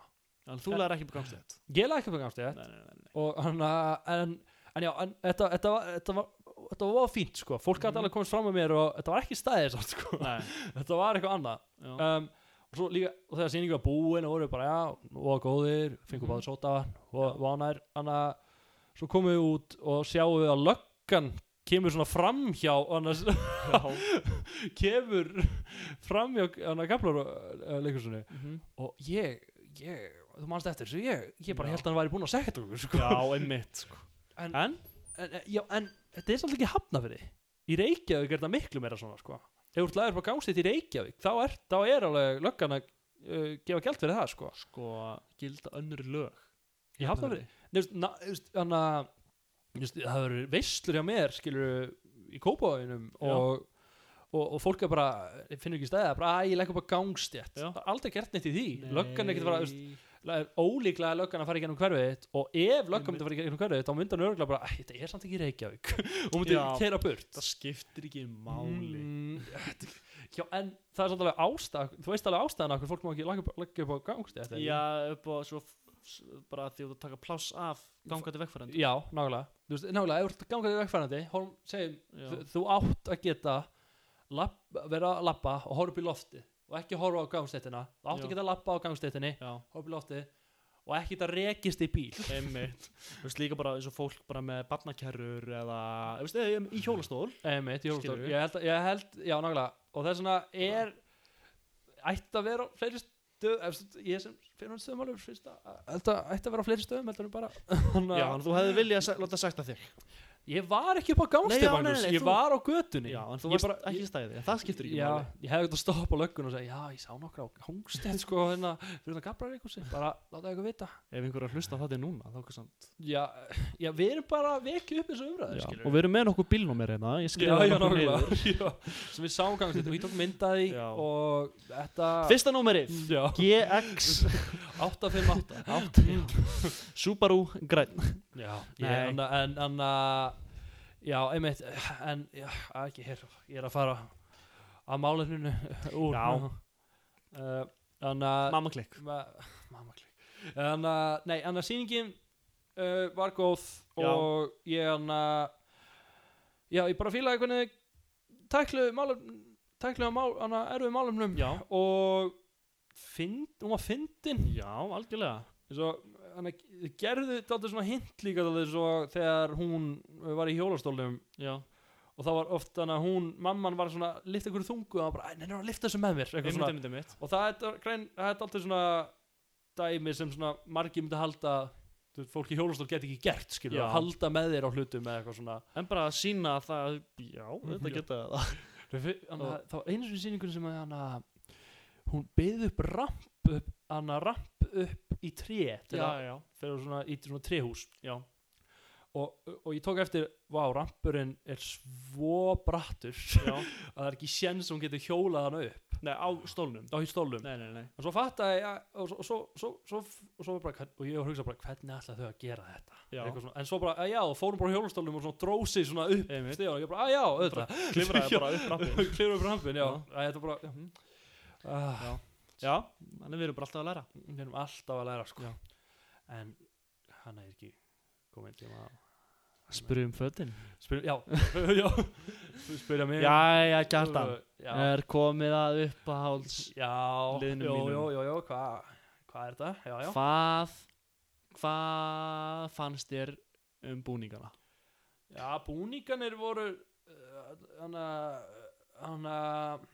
A: en þú lærir ekki upp gangstætt
B: ég lagði ekki upp á gangstétt og hann að en, en já, en, þetta, þetta, var, þetta var þetta var fínt sko, fólk
A: Mhm.
B: gæti alveg komist fram með mér og þetta var ekki stæðið
A: (laughs)
B: samt sko
A: Nei,
B: (laughs) þetta var eitthvað annað
A: já.
B: um, og svo líka, og þegar sýningu var búin og voru við bara, já, og góðir fengum
A: Mhm.
B: báður sóta og vánær þannig að svo komum við út og sjáum við að löggan kemur svona framhjá og annars kemur (laughs) framhjá hann að eh, kaplar leikursunni
A: Mhm.
B: og ég, ég, þú manst eftir þessu ég, ég bara
A: Já.
B: held að hann væri búin að segja þetta okkur sko.
A: Já, einmitt sko.
B: En-
A: en?
B: en, eh, já, en þetta er svolítið ekki hafna fyrir í Reykjavík er þetta miklu meira svona sko. ef þú ert laður på gangstætt í Reykjavík þá er, þá er alveg löggan að uh, gefa gælt fyrir það sko.
A: sko gilda önnur lög
B: í hafnafri þannig að þú veist, það verður veislur hjá mér skilur í kópáðinum
A: Já.
B: og, og, og fólk er bara, finnur ekki stæða bara, að ég legg upp að gangstétt
A: Já.
B: það er aldrei gert neitt í því, löggan er ekkert að fara þú veist, það er ólíklega að löggan að fara í gennum hverfið þitt og ef löggan myndi að fara í gennum hverfið þitt þá myndi hann örgulega bara, "Æ, þetta er samt ekki í Reykjavík (laughs) og myndi
A: Já.
B: keira burt
A: það skiptir ekki máli
B: Mm, þetta- Já, en það er samt alveg ástæð þú veist alveg ástæðan af hverju fólk má ekki leggja upp, leggja upp á gangstétt ekki?
A: já, upp á svo s- bara því að þú taka pláss af gangandi vegfærandi
B: Já, nákvæmlega Þú veist, nákvæmlega, ef þú ert gangandi vegfærandi horf, segjum,
A: Já.
B: þú- þú átt að geta lapp, vera að lappa og horfa upp í lofti og ekki horfa á gangstéttina þú átt
A: Já.
B: að geta að lappa á gangstéttinni
A: já,
B: horfa upp í lofti og ekki geta rekist í bíl
A: einmitt þú veist líka bara eins og fólk bara með barnakerrur eða, þú veist, eða í hjólastól
B: Einmitt, ég, held,
A: Skilurðu?
B: ég, held, ég held, já nákvæmlega og það er svona, er ætti að vera á fleiri stöð ef stu- ég sem fyrir hann stöðumálur finnst að ætti að ætti að vera á fleiri stöðum heldur en bara
A: já,
B: Þannig
A: en
B: að-
A: þú hefði viljað se- láta sagt að þig
B: ég var ekki upp á
A: Nei,
B: gangstíð
A: já, nei,
B: Magnús,
A: nei,
B: ég
A: þú-
B: var á götunni
A: já, en þú
B: Ég
A: varst
B: bara-
A: ekki í stæði en það skiptir ekki
B: já,
A: máli
B: ég hefði ekkert að stoppa löggun og segja já, ég sá nokkra á gangstétt sko hérna, fyrir það gabrar einhversi, bara láta eitthvað vita
A: ef einhver er að hlusta á þetta núna þá kannski
B: já, já, við erum bara að vekja upp þessu umræðu,
A: Já,
B: skilur
A: og við erum með nokkuð bílnúmer hérna ég
B: Já,
A: skrifaði
B: já,
A: nokkuð
B: nákvæmlega
A: niður.
B: (laughs) Já, sem við sáum gangstétt og ég tók myndaði
A: Já.
B: og þetta Mm,
A: fyrsta númerið
B: já,
A: GX
B: 858
A: Subaru Græn
B: Já, ég,
A: Nei.
B: anna, en anna, Já, einmitt En já, ekki hér Ég er að fara að málefninu úr
A: Já.
B: uh, Anna
A: Mamma klikk
B: ma, Mamma klik Anna, nei, anna sýningin uh, var góð
A: Já.
B: og ég anna Já, ég bara fílaði hvernig tækluðu málefn tækluðu mál, anna erfið málefnum
A: Já,
B: og fynd, hún var fyndin
A: já, algjörlega
B: eins og hann gerði þetta svona hint líka dálítið eins og þegar hún var í hjólastólnum
A: Já,
B: og það var oft þannig að hún, mamman var svona lifta ykkur þungu og hann bara, neina að lifta þessu með mér eitthvað
A: einmitt,
B: svona.
A: einmitt, einmitt
B: og það er þetta- grein, það er alltaf svona dæmi sem svona margir myndi halda þú veist, fólk í hjólastól geti ekki gert skilur,
A: Já.
B: að halda með þér á hlutum eða eitthvað svona
A: En bara að sína að það, já, þetta
B: Já.
A: geta það
B: Þannig að þá einu svona sýningun sem að hann að hún byði upp ramp upp, hann að ramp upp í tré til að
A: já,
B: fyrir svona, í svona tréhús
A: já
B: og, og ég tók eftir vá, rampurinn er svo brattur
A: Já,
B: (laughs) að það er ekki séns að hún getur hjólað hann upp
A: nei, á stólnum
B: á hér stólum
A: Nei, nei, nei
B: og svo fattaði ég að- og svo, svo, svo, svo, og svo var bara, hvern- og ég hugsa bara hvernig ætla þau að gera þetta
A: Já,
B: Eitthvað svona, en svo bara, að já, og fórum bara á hjólastólum og svona drósið svona upp
A: Einmitt.
B: stigann og ég bara, að já, (laughs) auðvitað
A: klifraði bara upp rappið
B: klifur upp rampin, já,
A: Já.
B: Æ, þetta bara já. hm.
A: Mhm.
B: Ah,
A: Já, þannig við erum bara alltaf að læra
B: við erum alltaf að læra sko. en hann er ekki komin tíma að
A: Spurum fötin
B: Spyr, já, (laughs) já Spyrja mig
A: Jæja, kjartan
B: Já,
A: Er komið að uppáhalds
B: já,
A: liðnum
B: jó,
A: mínum.
B: jó, jó, jó, hvað hva er þetta? Já, já
A: Hvað Hvað fannst þér um búningana?
B: Já, búninganir voru Þannig að Þannig að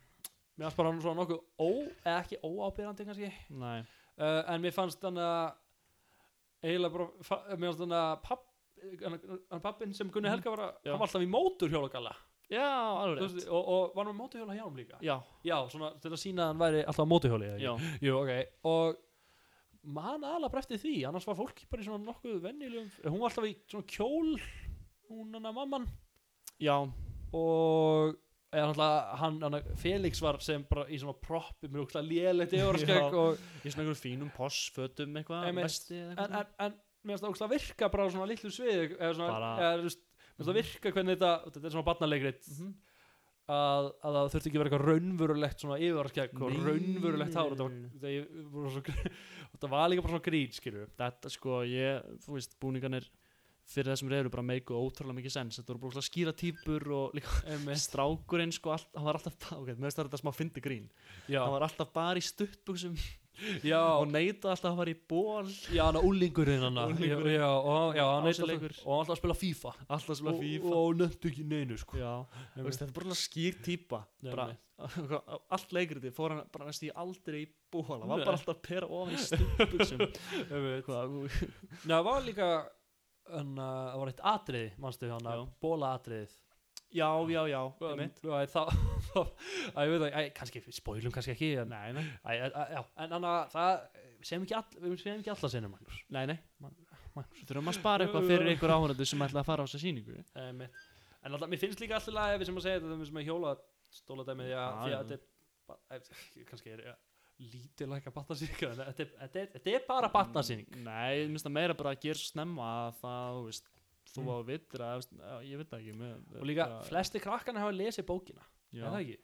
B: Mér fannst bara hann svona nokkuð ó eða ekki óábyrjandi kannski
A: Nei
B: uh, En mér fannst hann að eiginlega bara fa- Mér fannst hann að papp hann- hann pappin sem Gunni Helga var að
A: Mhm. Já.
B: hann var alltaf í móturhjólagalla
A: Já, alveg
B: þú
A: rétt.
B: veist, og, og var hann með móturhjóla hjá hann líka
A: Já,
B: já, svona til að sína að hann væri alltaf á móturhjóli eða ekki?
A: já
B: Jú, ok, og man aðalega bara eftir því, annars var fólk bara í svona nokkuð venjulegum, hún var alltaf í svona kjól, hún hann að mamman
A: Já,
B: og eða náttúrulega hann, hann Felix var sem bara í svona proppi með úkslega lélegt yfirskegg
A: Já.
B: og
A: í svona einhverjum fínum possfötum eitthvað
B: Einmitt.
A: vesti eða
B: en,
A: eitthvað
B: en, en mér finnst það ókslega virka bara á svona litlu sviði eða svona,
A: Bara-
B: eða, þú veist, mér finnst það virka hvernig þetta þetta er svona barnalegrið
A: Mhm.
B: að, að það þurfti ekki að vera eitthvað raunvörulegt svona yfirvarskegg og
A: Nei,
B: raunvörulegt hár
A: nei,
B: þetta var,
A: nei, nei.
B: þetta, ég, voru svo, gr- (laughs) þetta var líka bara svona grín skilju
A: þetta sko ég, þú veist, búningarnir fyrir þessum reyður bara meiku ótrúlega mikið sens þetta voru bara ótrúlega skýra típur og líka strákurinn sko, all, hann var alltaf ok, mér finnst það þetta smá fyndi grín
B: já,
A: hann var alltaf bara í stuttbuxum
B: já,
A: og neita alltaf að fara í ból
B: já, hann er úlingurinn hann að-
A: Unglingurinn.
B: já, og, já, hann er alltaf,
A: Ásileikur.
B: og hann er alltaf að spila FIFA
A: alltaf svona
B: Og-
A: fífa
B: og nöndu ekki neinu sko
A: já,
B: Nei,
A: þú veist, þetta er bara svona skýr típa
B: Nei,
A: bara,
B: nei.
A: (laughs) allt leikriti fór hann bara næst í aldrei í ból hann var
B: Nei.
A: bara alltaf að pera ofan í stuttbuxum
B: Einmitt.
A: (laughs) hvað, ú,
B: Nei, það var líka hann, uh, það var eitt atriði, manstu hann
A: Já.
B: bóla atriðið
A: já, já, já, ég
B: Æ, það, (laughs) æ, ég veit það, æ, kannski, spóilum kannski ekki en,
A: nei, nei,
B: æ, æ, æ, já, en anna, það við segjum ekki, all, við segjum ekki alla sinni Magnús
A: nei, nei.
B: Man-
A: Við þurfum að spara eitthvað fyrir einhver áhörðu sem ætla að fara á þessa síningu
B: um, en alltaf, mér finnst líka alltaf ef við sem að segja þetta, þeim sem að hjóla stóladæmi því að,
A: Já,
B: því
A: já.
B: að þetta er ba- eh, kannski er ja, lítið læka (laughs) batnasýning þetta, er- þetta, er- þetta er bara batnasýning
A: Nei, mér finnst það meira bara að gera snemma að það, þú veist, þú
B: Mm.
A: á vitir að, veist, já, ég veit það ekki með,
B: og líka flesti krakkana hafa lesið bókina
A: já, Mm.
B: er það ekki?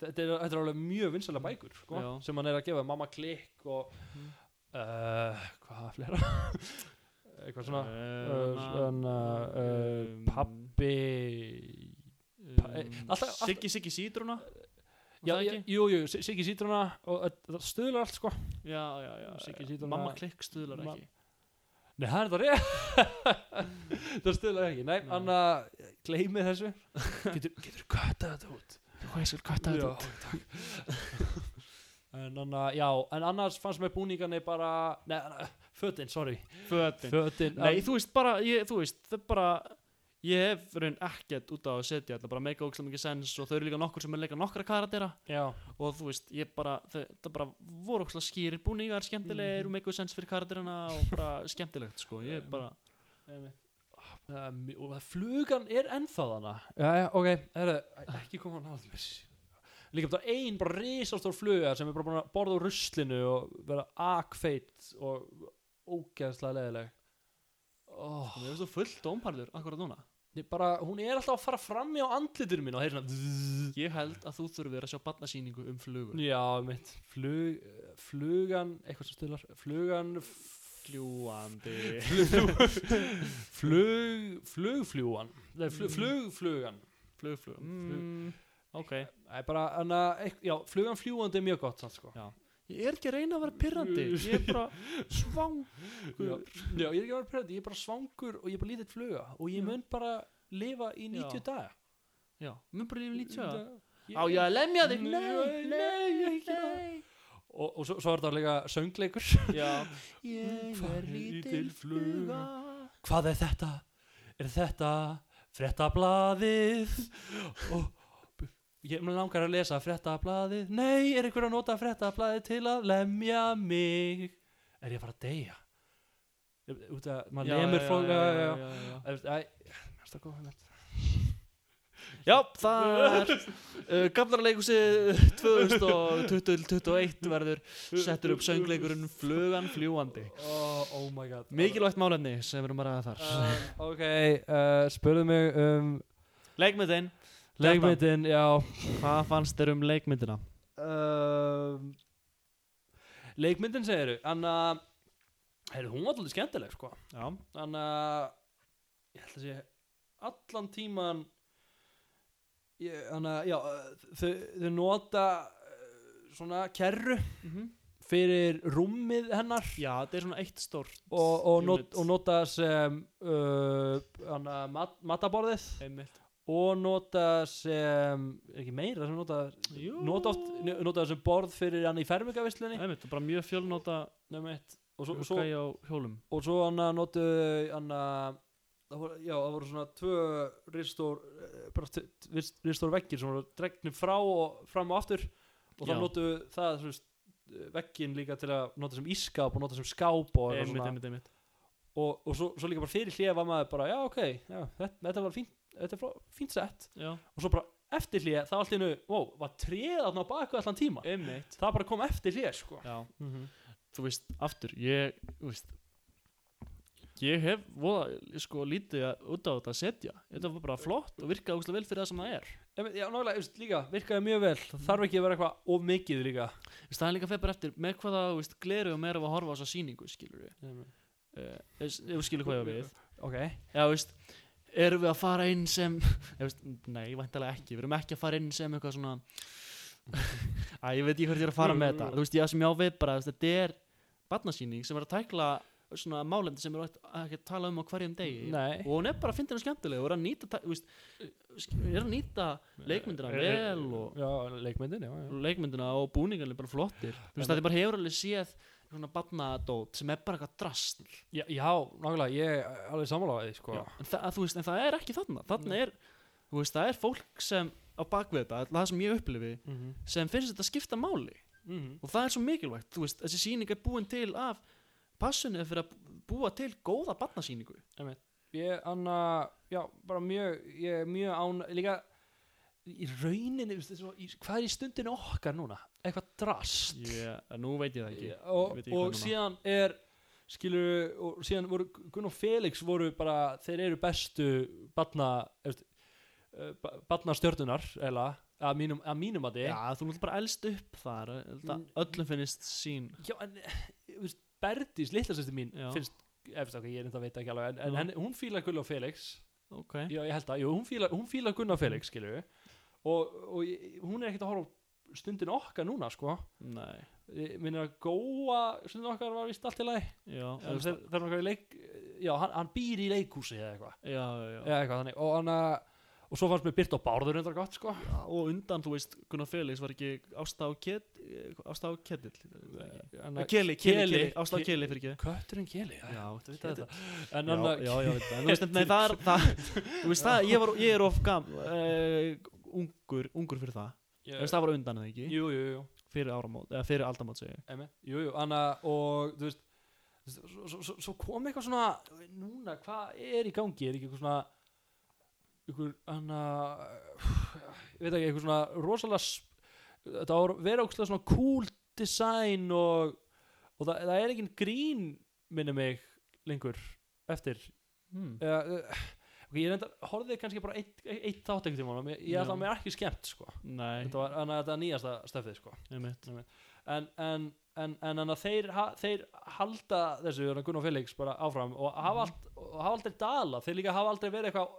B: Þetta er, þetta er alveg mjög vinsæla bækur sko,
A: Já.
B: sem hann er að gefa mamma klikk og
A: Mm.
B: uh, hvað flera (laughs) eitthvað
A: Eh.
B: svona
A: Ehm,
B: uh, svona uh,
A: um,
B: pappi pa- eh,
A: um,
B: alltaf- alltaf-
A: Siggi Siggi Sítruna
B: já,
A: það
B: já,
A: ekki?
B: jú, jú, Sig- Siggi Sítruna og eh, það stuðlar allt sko
A: já, já, já,
B: Siggi Sítruna-
A: mamma klikk stuðlar
B: Ma-
A: ekki
B: nei, það er það rétt (laughs) það stuðlar ekki, nei,
A: Nei.
B: hann að gleymið þessu getur, getur köttað þetta út
E: Hvað ég skal kvæta
B: Já,
E: þetta? út?
B: takk en, anna, já, en annars fannst mér búningarnir bara Nei, anna, fötin, sorry
A: fötin
B: Fötin
A: Nei, þú veist bara, ég, þú veist, það er bara ég hef raun ekkert út á að setja þetta bara make ógislega mikið sens og þau eru líka nokkur sem er leika nokkra karatera
B: Já,
A: og þú veist, ég bara, þau, það bara voru ógislega skýrir búningar, skemmtilegir og make sens fyrir karaterina og bara (laughs) skemmtilegt sko, ég er bara
B: það er mj- og það- flugan er ennþá þarna Já, já, ok, herru, ekki koma að náðum Líka bara ein bara risastór fluga sem er bara búin að borða úr ruslinu og vera akfeit og ógeðslega leðileg Oh,
A: Mér finnst þú fullt dómparður akkurat núna
B: ég bara, hún er alltaf að fara fram í á andlitur mín og heyr svona zzzz.
A: Ég held að þú þurfir að sjá barnasýningu um flugur
B: Já, mitt, flug, flugan, eitthvað sem stuðlar, flugan, (laughs)
A: Ljúandi
B: flug, flug, flugfljúan, nei, flug,
A: Mm.
B: flugflugan,
A: Flugflug mm, Ok
B: það er bara, anna, ekk, já, flugan fljúandi er mjög gott, sann, sko.
A: Já. Ég er ekki að reyna að vera pirrandi Ég er (laughs) bara svang
B: Já, já, ég er ekki að vera pröfði, ég er bara svangur og ég er bara lítill fluga og ég mun bara lifa í 90
A: Já.
B: daga.
A: Já, mun bara lífið lítið að
B: Ég-
A: Á ég að lemja þig
B: Nei, nei, ekki það. Og, og svo, svo er það líka söngleikur.
A: Já Ég
B: (laughs)
A: er
B: Hvar er lítil
A: lítil fluga
B: hvað er þetta? Er þetta frettablaðið? Og ég mig langar að lesa frettablaðið. Nei, er einhver að nota frettablaðið til að lemja mig? Er ég að fara að deyja? Út að maður lemur fólk. Já, já, já.
A: já.
B: Æ, æ, mér finnst það góð hugmynd.
A: Já, það er uh, Gamlarleikusi (laughs) 2021 verður Settur upp söngleikurinn Flugan fljúandi
B: Oh, oh my god.
A: Mikilvægt málefni sem við erum að ræða þar
B: Uh, ok, uh, spurðu mig um
A: Leikmyndin,
B: leikmyndin, já.
A: hvað fannst þér um leikmyndina?
B: um, leikmyndin segiru en að heyrðu, hún var alltaf skemmtileg sko
A: Já,
B: en að ég held að sé allan tíman ég- þannig að já eh, þau, þau nota eh, svona kerru
A: Mhm.
B: fyrir rúmið hennar
A: já þetta er svona eitt stórt
B: og, og, not,
A: Unit.
B: og nota sem uh, hana, mat, mataborðið
A: Einmitt
B: og nota sem er ekki meira sem nota
A: Jú.
B: nota, oft, nota sem borð fyrir hann í fermingavislunni
A: Einmitt, það er bara mjög fjölnóta
B: Nefnett Og svo, svo,
A: Gæi á hjólum
B: og svo hann að notu hann að það voru, já, það voru svona tvö ristór bara t- t- rist- ristór veggir sem voru dregnir frá og fram og aftur og
A: Já.
B: þá notu það þú veist, veggin líka til að nota sem ískáp og nota sem skáp og, eitthvað
A: Einmitt,
B: svona.
A: einmitt, einmitt
B: og, og svo, svo líka bara fyrir hlið var maður bara já ok, já, þetta, þetta var fínt þetta er fló- fínt sett
A: Já,
B: og svo bara eftir hlið það var allt í hennu, wow, var treð þarna á baku allan tíma
A: einmitt
B: það bara kom eftir hlið sko
A: Já,
B: mm -hmm.
A: þú veist, aftur, ég, þú veist Ég hef voða, sko, lítið að út á þetta að setja Þetta var bara flott og virkaði ógustlega vel fyrir það sem það er
B: Einmitt, Já, nálega, þú veist, líka, virkaði mjög vel Það þarf ekki að vera eitthvað of mikið líka
A: Þú veist, Það er líka feppar eftir með hvaða, þú veist, gleru og meira að horfa á þessa sýningu, skilur við uh, Ef ef þú skilur hvað ég á við
B: Ok
A: Já, veist, erum við að fara inn sem (laughs) Já, veist, Nei, væntalega ekki Við erum ekki að fara inn sem eitthvað svona (laughs) Æ, ég veit ekki hvert ég er að fara með þetta Þú veist, ég að sem ég á við bara þú veist, Þetta er barnasýning sem er að tækla svona málendi sem er oft- ekki að tala um á hverjum degi
B: Nei
A: og hún er bara að finna henni skemmtileg og er að nýta, tæ- þú veist, er að nýta leikmyndina
B: Eh,
A: vel og Mm.
B: Já, leikmyndin, já, já
A: leikmyndina og búningarnir bara flottir þú veist að þið bara hefur alveg séð svona barnadót sem er bara eitthvað drastl
B: Já, já nálega, ég er alveg sammála á því, sko
A: Já, en, þa að, þú veist, en það er ekki þarna þarna er, þú veist, það er fólk sem á bakvið þetta, það sem ég upplifi
B: mm -hmm.
A: sem finnst þetta skipta máli
B: Mm -hmm.
A: og það er svo mikilvægt, þú veist, þessi sýning er búin til af passunni fyrir að búa til góða barnasýningu
B: Ég, anna, já, bara mjög Ég er mjög án Líka í rauninni, veist, svo, í, hvað er í stundinu okkar núna? Eitthvað drast
A: yeah, nú veit ég það ekki
B: og,
A: Ég veit ekki hvað
B: og
A: núna.
B: síðan er skilur, og síðan voru Gunn og Felix voru bara, þeir eru bestu batna batna stjörnunar eh, eða, að mínum, að mínum að þið
A: Já, þú náttúrulega bara elst upp þar ég held að Öllum finnist sín
B: Já, en eh, þú veist, Berdís, litla sýsti mín
A: Já.
B: finnst, eftir okkar, ég er þetta veit ekki alveg en, en
A: Já.
B: henni, hún fílar Gunn og Felix
A: Ok
B: já, ég held að, jú, hún fílar, hún fílar Gunn og Felix skilur við og, og ég- hún er ekkert að horfa á stundin okkar núna sko,
A: Nei
B: minn er að góa stundin okkar var vist allt í lagi
A: Já,
B: En
A: elst-
B: þeir, þeir eru okkar í leik já, hann, hann býr í leikhúsi eða eitthvað
A: já, já, já.
B: eða eitthvað þannig og hann að og svo fannst mér Byrta og Bárður undra gott sko
A: Já, og undan, þú veist, Gunnar Felix var ekki Ásta á Ket- eh, Ásta á Ketill
B: Hann að-
A: Keli, Keli, Keli, Ásta á
B: Ke-
A: Keli, fyrir ekki
B: kötturinn Keli já,
A: Já, þú veit
B: þetta
A: að
B: þetta en hann
A: Já,
B: að
A: já, já, veit það. En þú veist, (laughs) nei, það er, það, þú veist, það, ég, var, ég er of gam, uh, ungur, ungur fyrir það. Þú veist, það var á undan eða ekki,
B: jú, jú, jú
A: fyrir áramót, eða fyrir aldamót segi ég.
B: Emi, jú, jú, anna, og þú veist svo, svo- svo, svo kom eitthvað svona núna, hvað er í gangi er ekki eitthvað svona ykkur, anna ég veit ekki, eitthvað svona rosalega sp- þetta var vera ókslega svona cool design og, og það, það er ekki grín minni mig lengur eftir
A: Hmm.
B: uh, uh, ég reyndar, horfði kannski bara eitt, eitt þátt ekkert tíma, ég, ég
A: Já.
B: ætla að mér er ekki skemmt sko,
A: Nei,
B: þetta var anna, þetta nýjasta stefið sko
A: einmitt.
B: en, en, en, en, en að þeir, ha, þeir halda þessu hérna, Gunnar og Felix bara áfram og
A: Mhm.
B: hafa, allt, og hafa aldrei dala þeir líka hafa aldrei verið eitthvað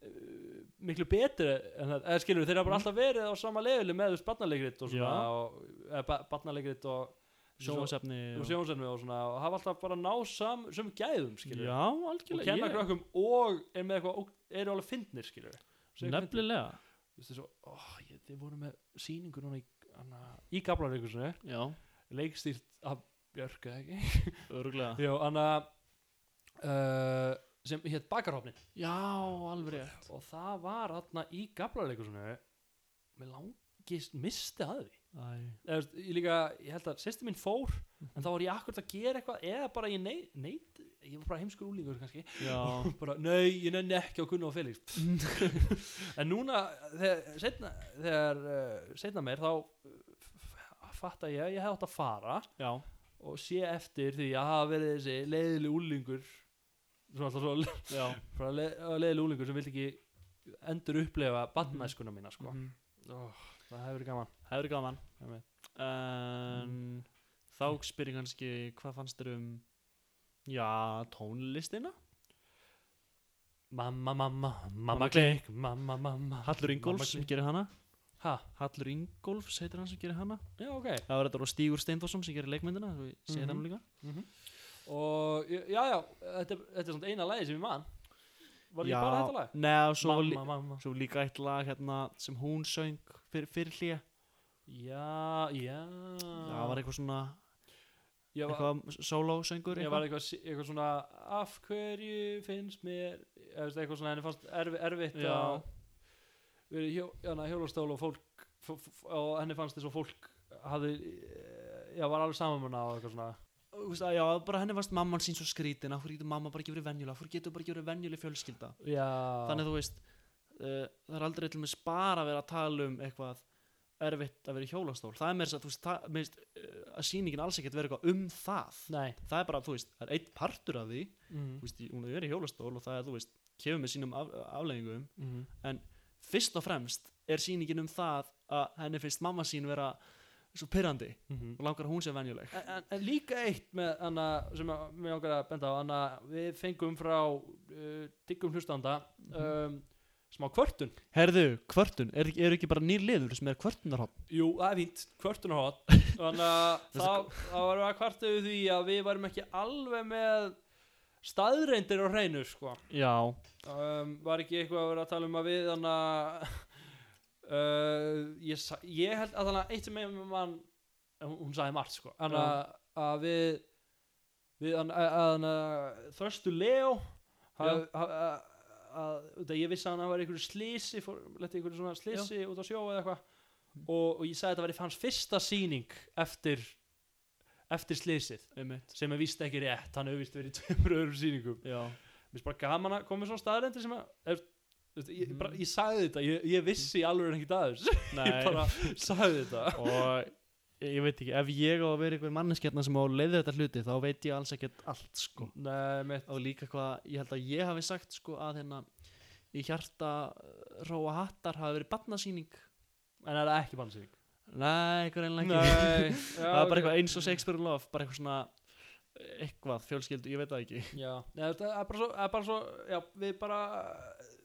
B: uh, miklu betri en það, eða skilur við, þeir hafa bara alltaf verið á sama leðili með þessu barnaleikrit og svona
A: Mhm. Já.
B: og, eða ba- barnaleikrit og
A: Sjónvarsefni.
B: og sjónsennu og svona og hafa alltaf bara ná sam, sem gæðum skilur við.
A: Já,
B: og
A: algjörlega.
B: kenna
A: ég-
B: krökkum og er með eitthvað og eru alveg fyndnir skilur við. Séu fyndnir.
A: Nefnilega.
B: Þú veist, þeir svo, ó, ég, þeir voru með sýningu núna í, hana, í Gablaríkusinu
A: Já,
B: leikstýrt af Björk eða ekki (laughs)
A: öruglega.
B: Jó, hann að uh, sem hétt Bakarhofnin
A: Já, alveg rétt.
B: og það var hann í gablarleikusinu með langist misti að því
A: Æ,
B: Eða, veist, ég líka, ég held að sýsti mín fór en þá var ég akkurat að gera eitthvað eða bara ég neit, neit ég var bara heimskur úlingur kannski
A: já.
B: bara, nei, ég nenni ekki á Gunni og Felix Pff. en núna þegar, setna, þegar uh, setna meir þá uh, fatta ég að ég hef átt að fara
A: (laughs) Já,
B: og sé eftir því að hafa verið þessi leiðileg úlingur svona alltaf svo le-
A: já.
B: (laughs) bara leið, uh, leiðileg úlingur sem vildi ekki endur upplefa badnæskuna mína sko.
A: Mhm.
B: Ó, það hefur verið gaman
A: Það hefur gaman
B: Einmitt.
A: En þá spyrir kannski hvað fannst þér um já, tónlistina?
B: mamma mamma, mamma klikk mamma mamma
A: Hallur Ingolfs sem
B: Mamma klikk.
A: gerir hana
B: ha,
A: Hallur Ingolfs heitir hann sem gerir hana
B: já ok
A: Það var þetta og Stígur Steindorsson sem gerir leikmyndina þú segir
B: Mhm.
A: hann líka
B: og já já, þetta, er- þetta er svona eina lagi sem ég man var
A: Já,
B: ég bara þetta lag
A: Nei, og svo, var
B: mamma
A: lí-
B: mamma
A: svo líka eitt lag hérna sem hún söng fyrir, fyrir hlýja
B: já, já
A: Það var eitthvað svona
B: ég var,
A: eitthvað sólósöngur
B: ég var
A: eitthvað.
B: eitthvað, eitthvað svona af hverju finnst mér eða veist, eitthvað svona henni fannst erfi, erfitt
A: Já.
B: að vera í hjó, hana, hjólastól og fólk f- f- og henni fannst þess að fólk hafði, eh, já var alveg saman með hana og eitthvað svona
A: Þú veist að Já, bara henni varst mamman sín svo skrítin af hverju getur mamma bara ekki verið venjulega af hverju getur bara ekki verið venjuleg fjölskylda
B: já,
A: þannig að þú veist uh, það er aldrei til með spara að vera að tala um eitthvað erfitt að vera í hjólastól það er með þess að þú veist, það, með veist uh, að sýningin alls ekkert vera eitthvað um það
B: nei
A: það er bara, þú veist, það er eitt partur af því
B: mm.
A: þú veist, hún er í hjólastól og það er, þú veist kefur með sínum af, afleggingum
B: Mm.
A: fyrst og fremst er sýningin um það að henni finnst mamma sín vera svo pyrrandi
B: Mm.
A: og langar að hún sé venjuleg
B: En, en- en líka eitt með hana sem að- mig ákveða að benda á hana við fengum frá uh, diggum hlustanda
A: Mhm.
B: um, smá kvörtun
A: Herðu, kvörtun, er, er ekki bara nýr liður sem er kvörtunarhótt?
B: Jú, það er fínt, kvörtunarhótt Þannig að það, það var að kvarta við því að við varum ekki alveg með staðreindir á hreinu sko.
A: Já,
B: um, Var ekki eitthvað að vera að tala um að við þannig að (laughs) uh, ég, sa- ég held að þannig að eitt sem með mann hún, hún sagði margt sko. Þannig að, að við, við að, að, að, að þröstu Leo að, að, að, að, að ég vissi að hann var einhverju slísi leti einhverju svona slísi út á sjó eða eitthvað og, og ég sagði að þetta væri hans fyrsta sýning eftir eftir slísið
A: einmitt
B: sem er vist ekki rétt, hann hefur vist verið í tveimur öðrum sýningum
A: Já,
B: mér finnst bara gaman að koma með svona staðarendir sem að ef, Þú veist, ég, bara, ég sagði þetta, ég, ég vissi alveg ekkert að þessu, ég
A: Nei,
B: bara sagði þetta
A: og ég veit ekki, ef ég á að vera einhver manneskjarnar sem á að leiða þetta hluti þá veit ég alls ekkert allt sko
B: Nei, mitt
A: og líka hvað, ég held að ég hafi sagt sko að hérna í hjarta uh, róa hattar hafi verið barnasýning
B: En er það ekki bannsýning?
A: Nei, eitthvað reynilega ekki
B: (laughs) Nei,
A: Það var bara eitthvað eins og Shakespeare in Love bara eitthvað svona eh, eitthvað, fjölskyldu, ég veit það ekki
B: Já, Nei, þetta er bara svo, það er bara svo já, við bara,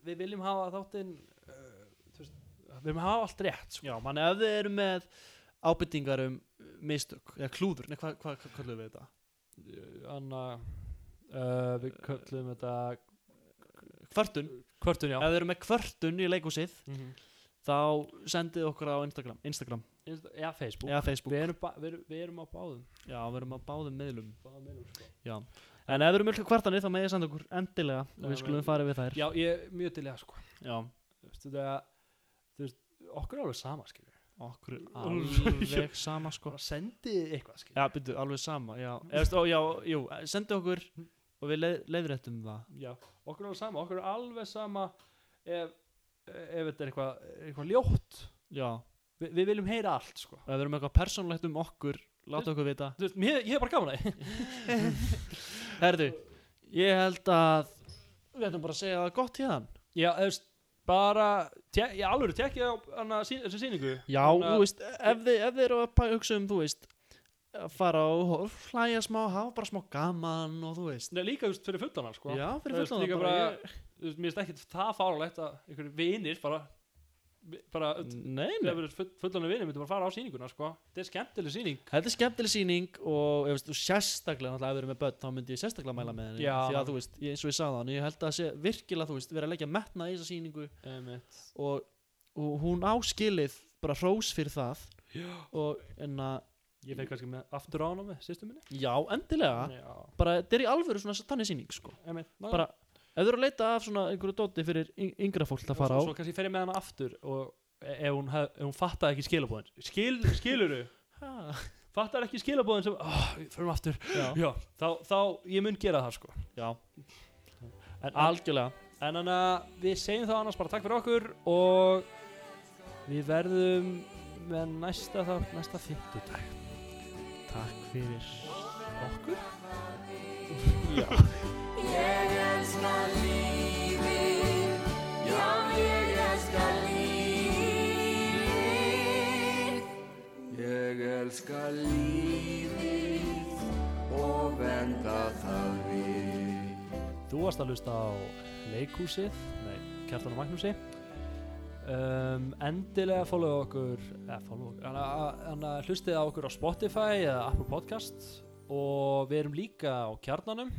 B: við viljum hafa þáttinn uh, þú veist, við viljum hafa allt rétt sko.
A: Já, mann ef þið eru með ábyrtingar um mistök, eða klúður Nei, hvað hva, hva kallum við þetta?
B: Anna, uh, við köllum þetta
A: Kvörtun,
B: Kvörtun, já
A: ef þið eru með kvörtun í leikhúsið
B: mm
A: þá sendið okkur á Instagram Instagram,
B: Já, Facebook
A: eða Facebook
B: Við erum, ba- við, erum, við erum á báðum
A: Já, við erum á báðum miðlum
B: Báðum erum, sko.
A: Já, en ef þið eru mjölka kvartanir þá með ég senda okkur endilega og
B: Já,
A: við skulum
B: vel.
A: fara við þær
B: Já, ég er mjög til í það sko.
A: Já,
B: Þú veist, þetta er- þú veist, okkur er alveg sama skilur
A: okkur er alveg (laughs) sama sko
B: bara sendið eitthvað skilur
A: Já, byrju, alveg sama, já Efst, ó, Já, jú, sendið okkur og við leið, leiðréttum það
B: Já, okkur er alveg sama, okkur er alveg sama ef, ef þetta er eitthvað, eitthvað ljótt
A: Já,
B: Vi, við viljum heyra allt sko
A: ef þið eru með eitthvað persónlegt um okkur láta okkur vita
B: Þú veist, mér, ég er bara gaman að því (laughs)
A: Herðu, ég held að við ætlum bara að segja það gott hérna
B: Já, þú veist, bara te, ég alveg er tekja á hana, sí, þessu sýningu
A: Já, þú veist, ef þið, ef þið eru að pæ- hugsa um, þú veist að fara og hlæja smá, hafa bara smá gaman og þú veist
B: Nei, líka, þú veist, fyrir fullana sko
A: Já,
B: Þú
A: fyrir
B: veist,
A: fullan
B: líka
A: það
B: bara,
A: bara
B: þú veist, mér finnst ekkert það fáralegt að einhverju vinir bara bara,
A: ég-
B: mm.
A: Nei, nei,
B: ef fullana vinir myndi bara fara á sýninguna sko þetta er skemmtileg sýning
A: þetta er skemmtileg sýning og ef veist, þú sérstaklega, náttúrulega ef við erum með börn þá myndi ég sérstaklega mæla með henni
B: Já.
A: því að þú veist, ég, eins og ég sagði hann, ég held að það sé virkilega, þú veist, vera að leggja metna í þessa sýningu
B: um,
A: og, og hún áskilið bara hrós fyrir það Já. og en að,
B: ég fyrir kannski með aftur ánum með sýstum minni
A: já, endilega
B: Já,
A: bara, þetta er í alvöru svona þannig sýning, sko
B: einmitt, ná,
A: Bara- ef þú eru að leita af svona einhverju dóti fyrir yng- yngra fólk að fara á
B: svo, svo kannski fer ég með hana aftur og e- ef hún, hef, ef hún fattar ekki skilabóðin Skil,
A: (laughs)
B: skiluru,
A: Ha,
B: fattar ekki skilabóðin sem, oh, förum aftur
A: já, (laughs)
B: já, þá, þá, ég mun gera það sko
A: já,
B: en, al,
A: algjörlega
B: en hana, við segjum þá annars bara takk fyrir okkur og við verðum með næsta þá, næsta fimmtudag
A: takk fyrir
B: okkur
F: Ég elska lífið, já ég elska lífið.
D: Ég elska lífið og venda það við.
B: Þú varst að hlusta á leikúsið með Kjartan og Magnúsi um, Endilega follow okkur eða follow okkur hana, hana, hlustið á okkur á Spotify eða Apple Podcast og við erum líka á Kjarnanum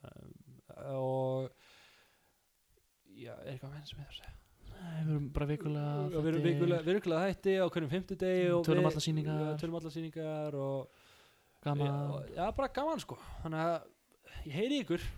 B: um, og já, er eitthvað meina sem ég þarf að segja
A: Nei, við erum bara vikulega
B: Já, við erum virkulega, virkulega hætti á hverjum fimmtudegi og
A: Tölum
B: við-
A: allar sýningar.
B: Já, Tölum alla sýningar og
A: gaman
B: Já, já, bara gaman sko Þannig að ég heyri í ykkur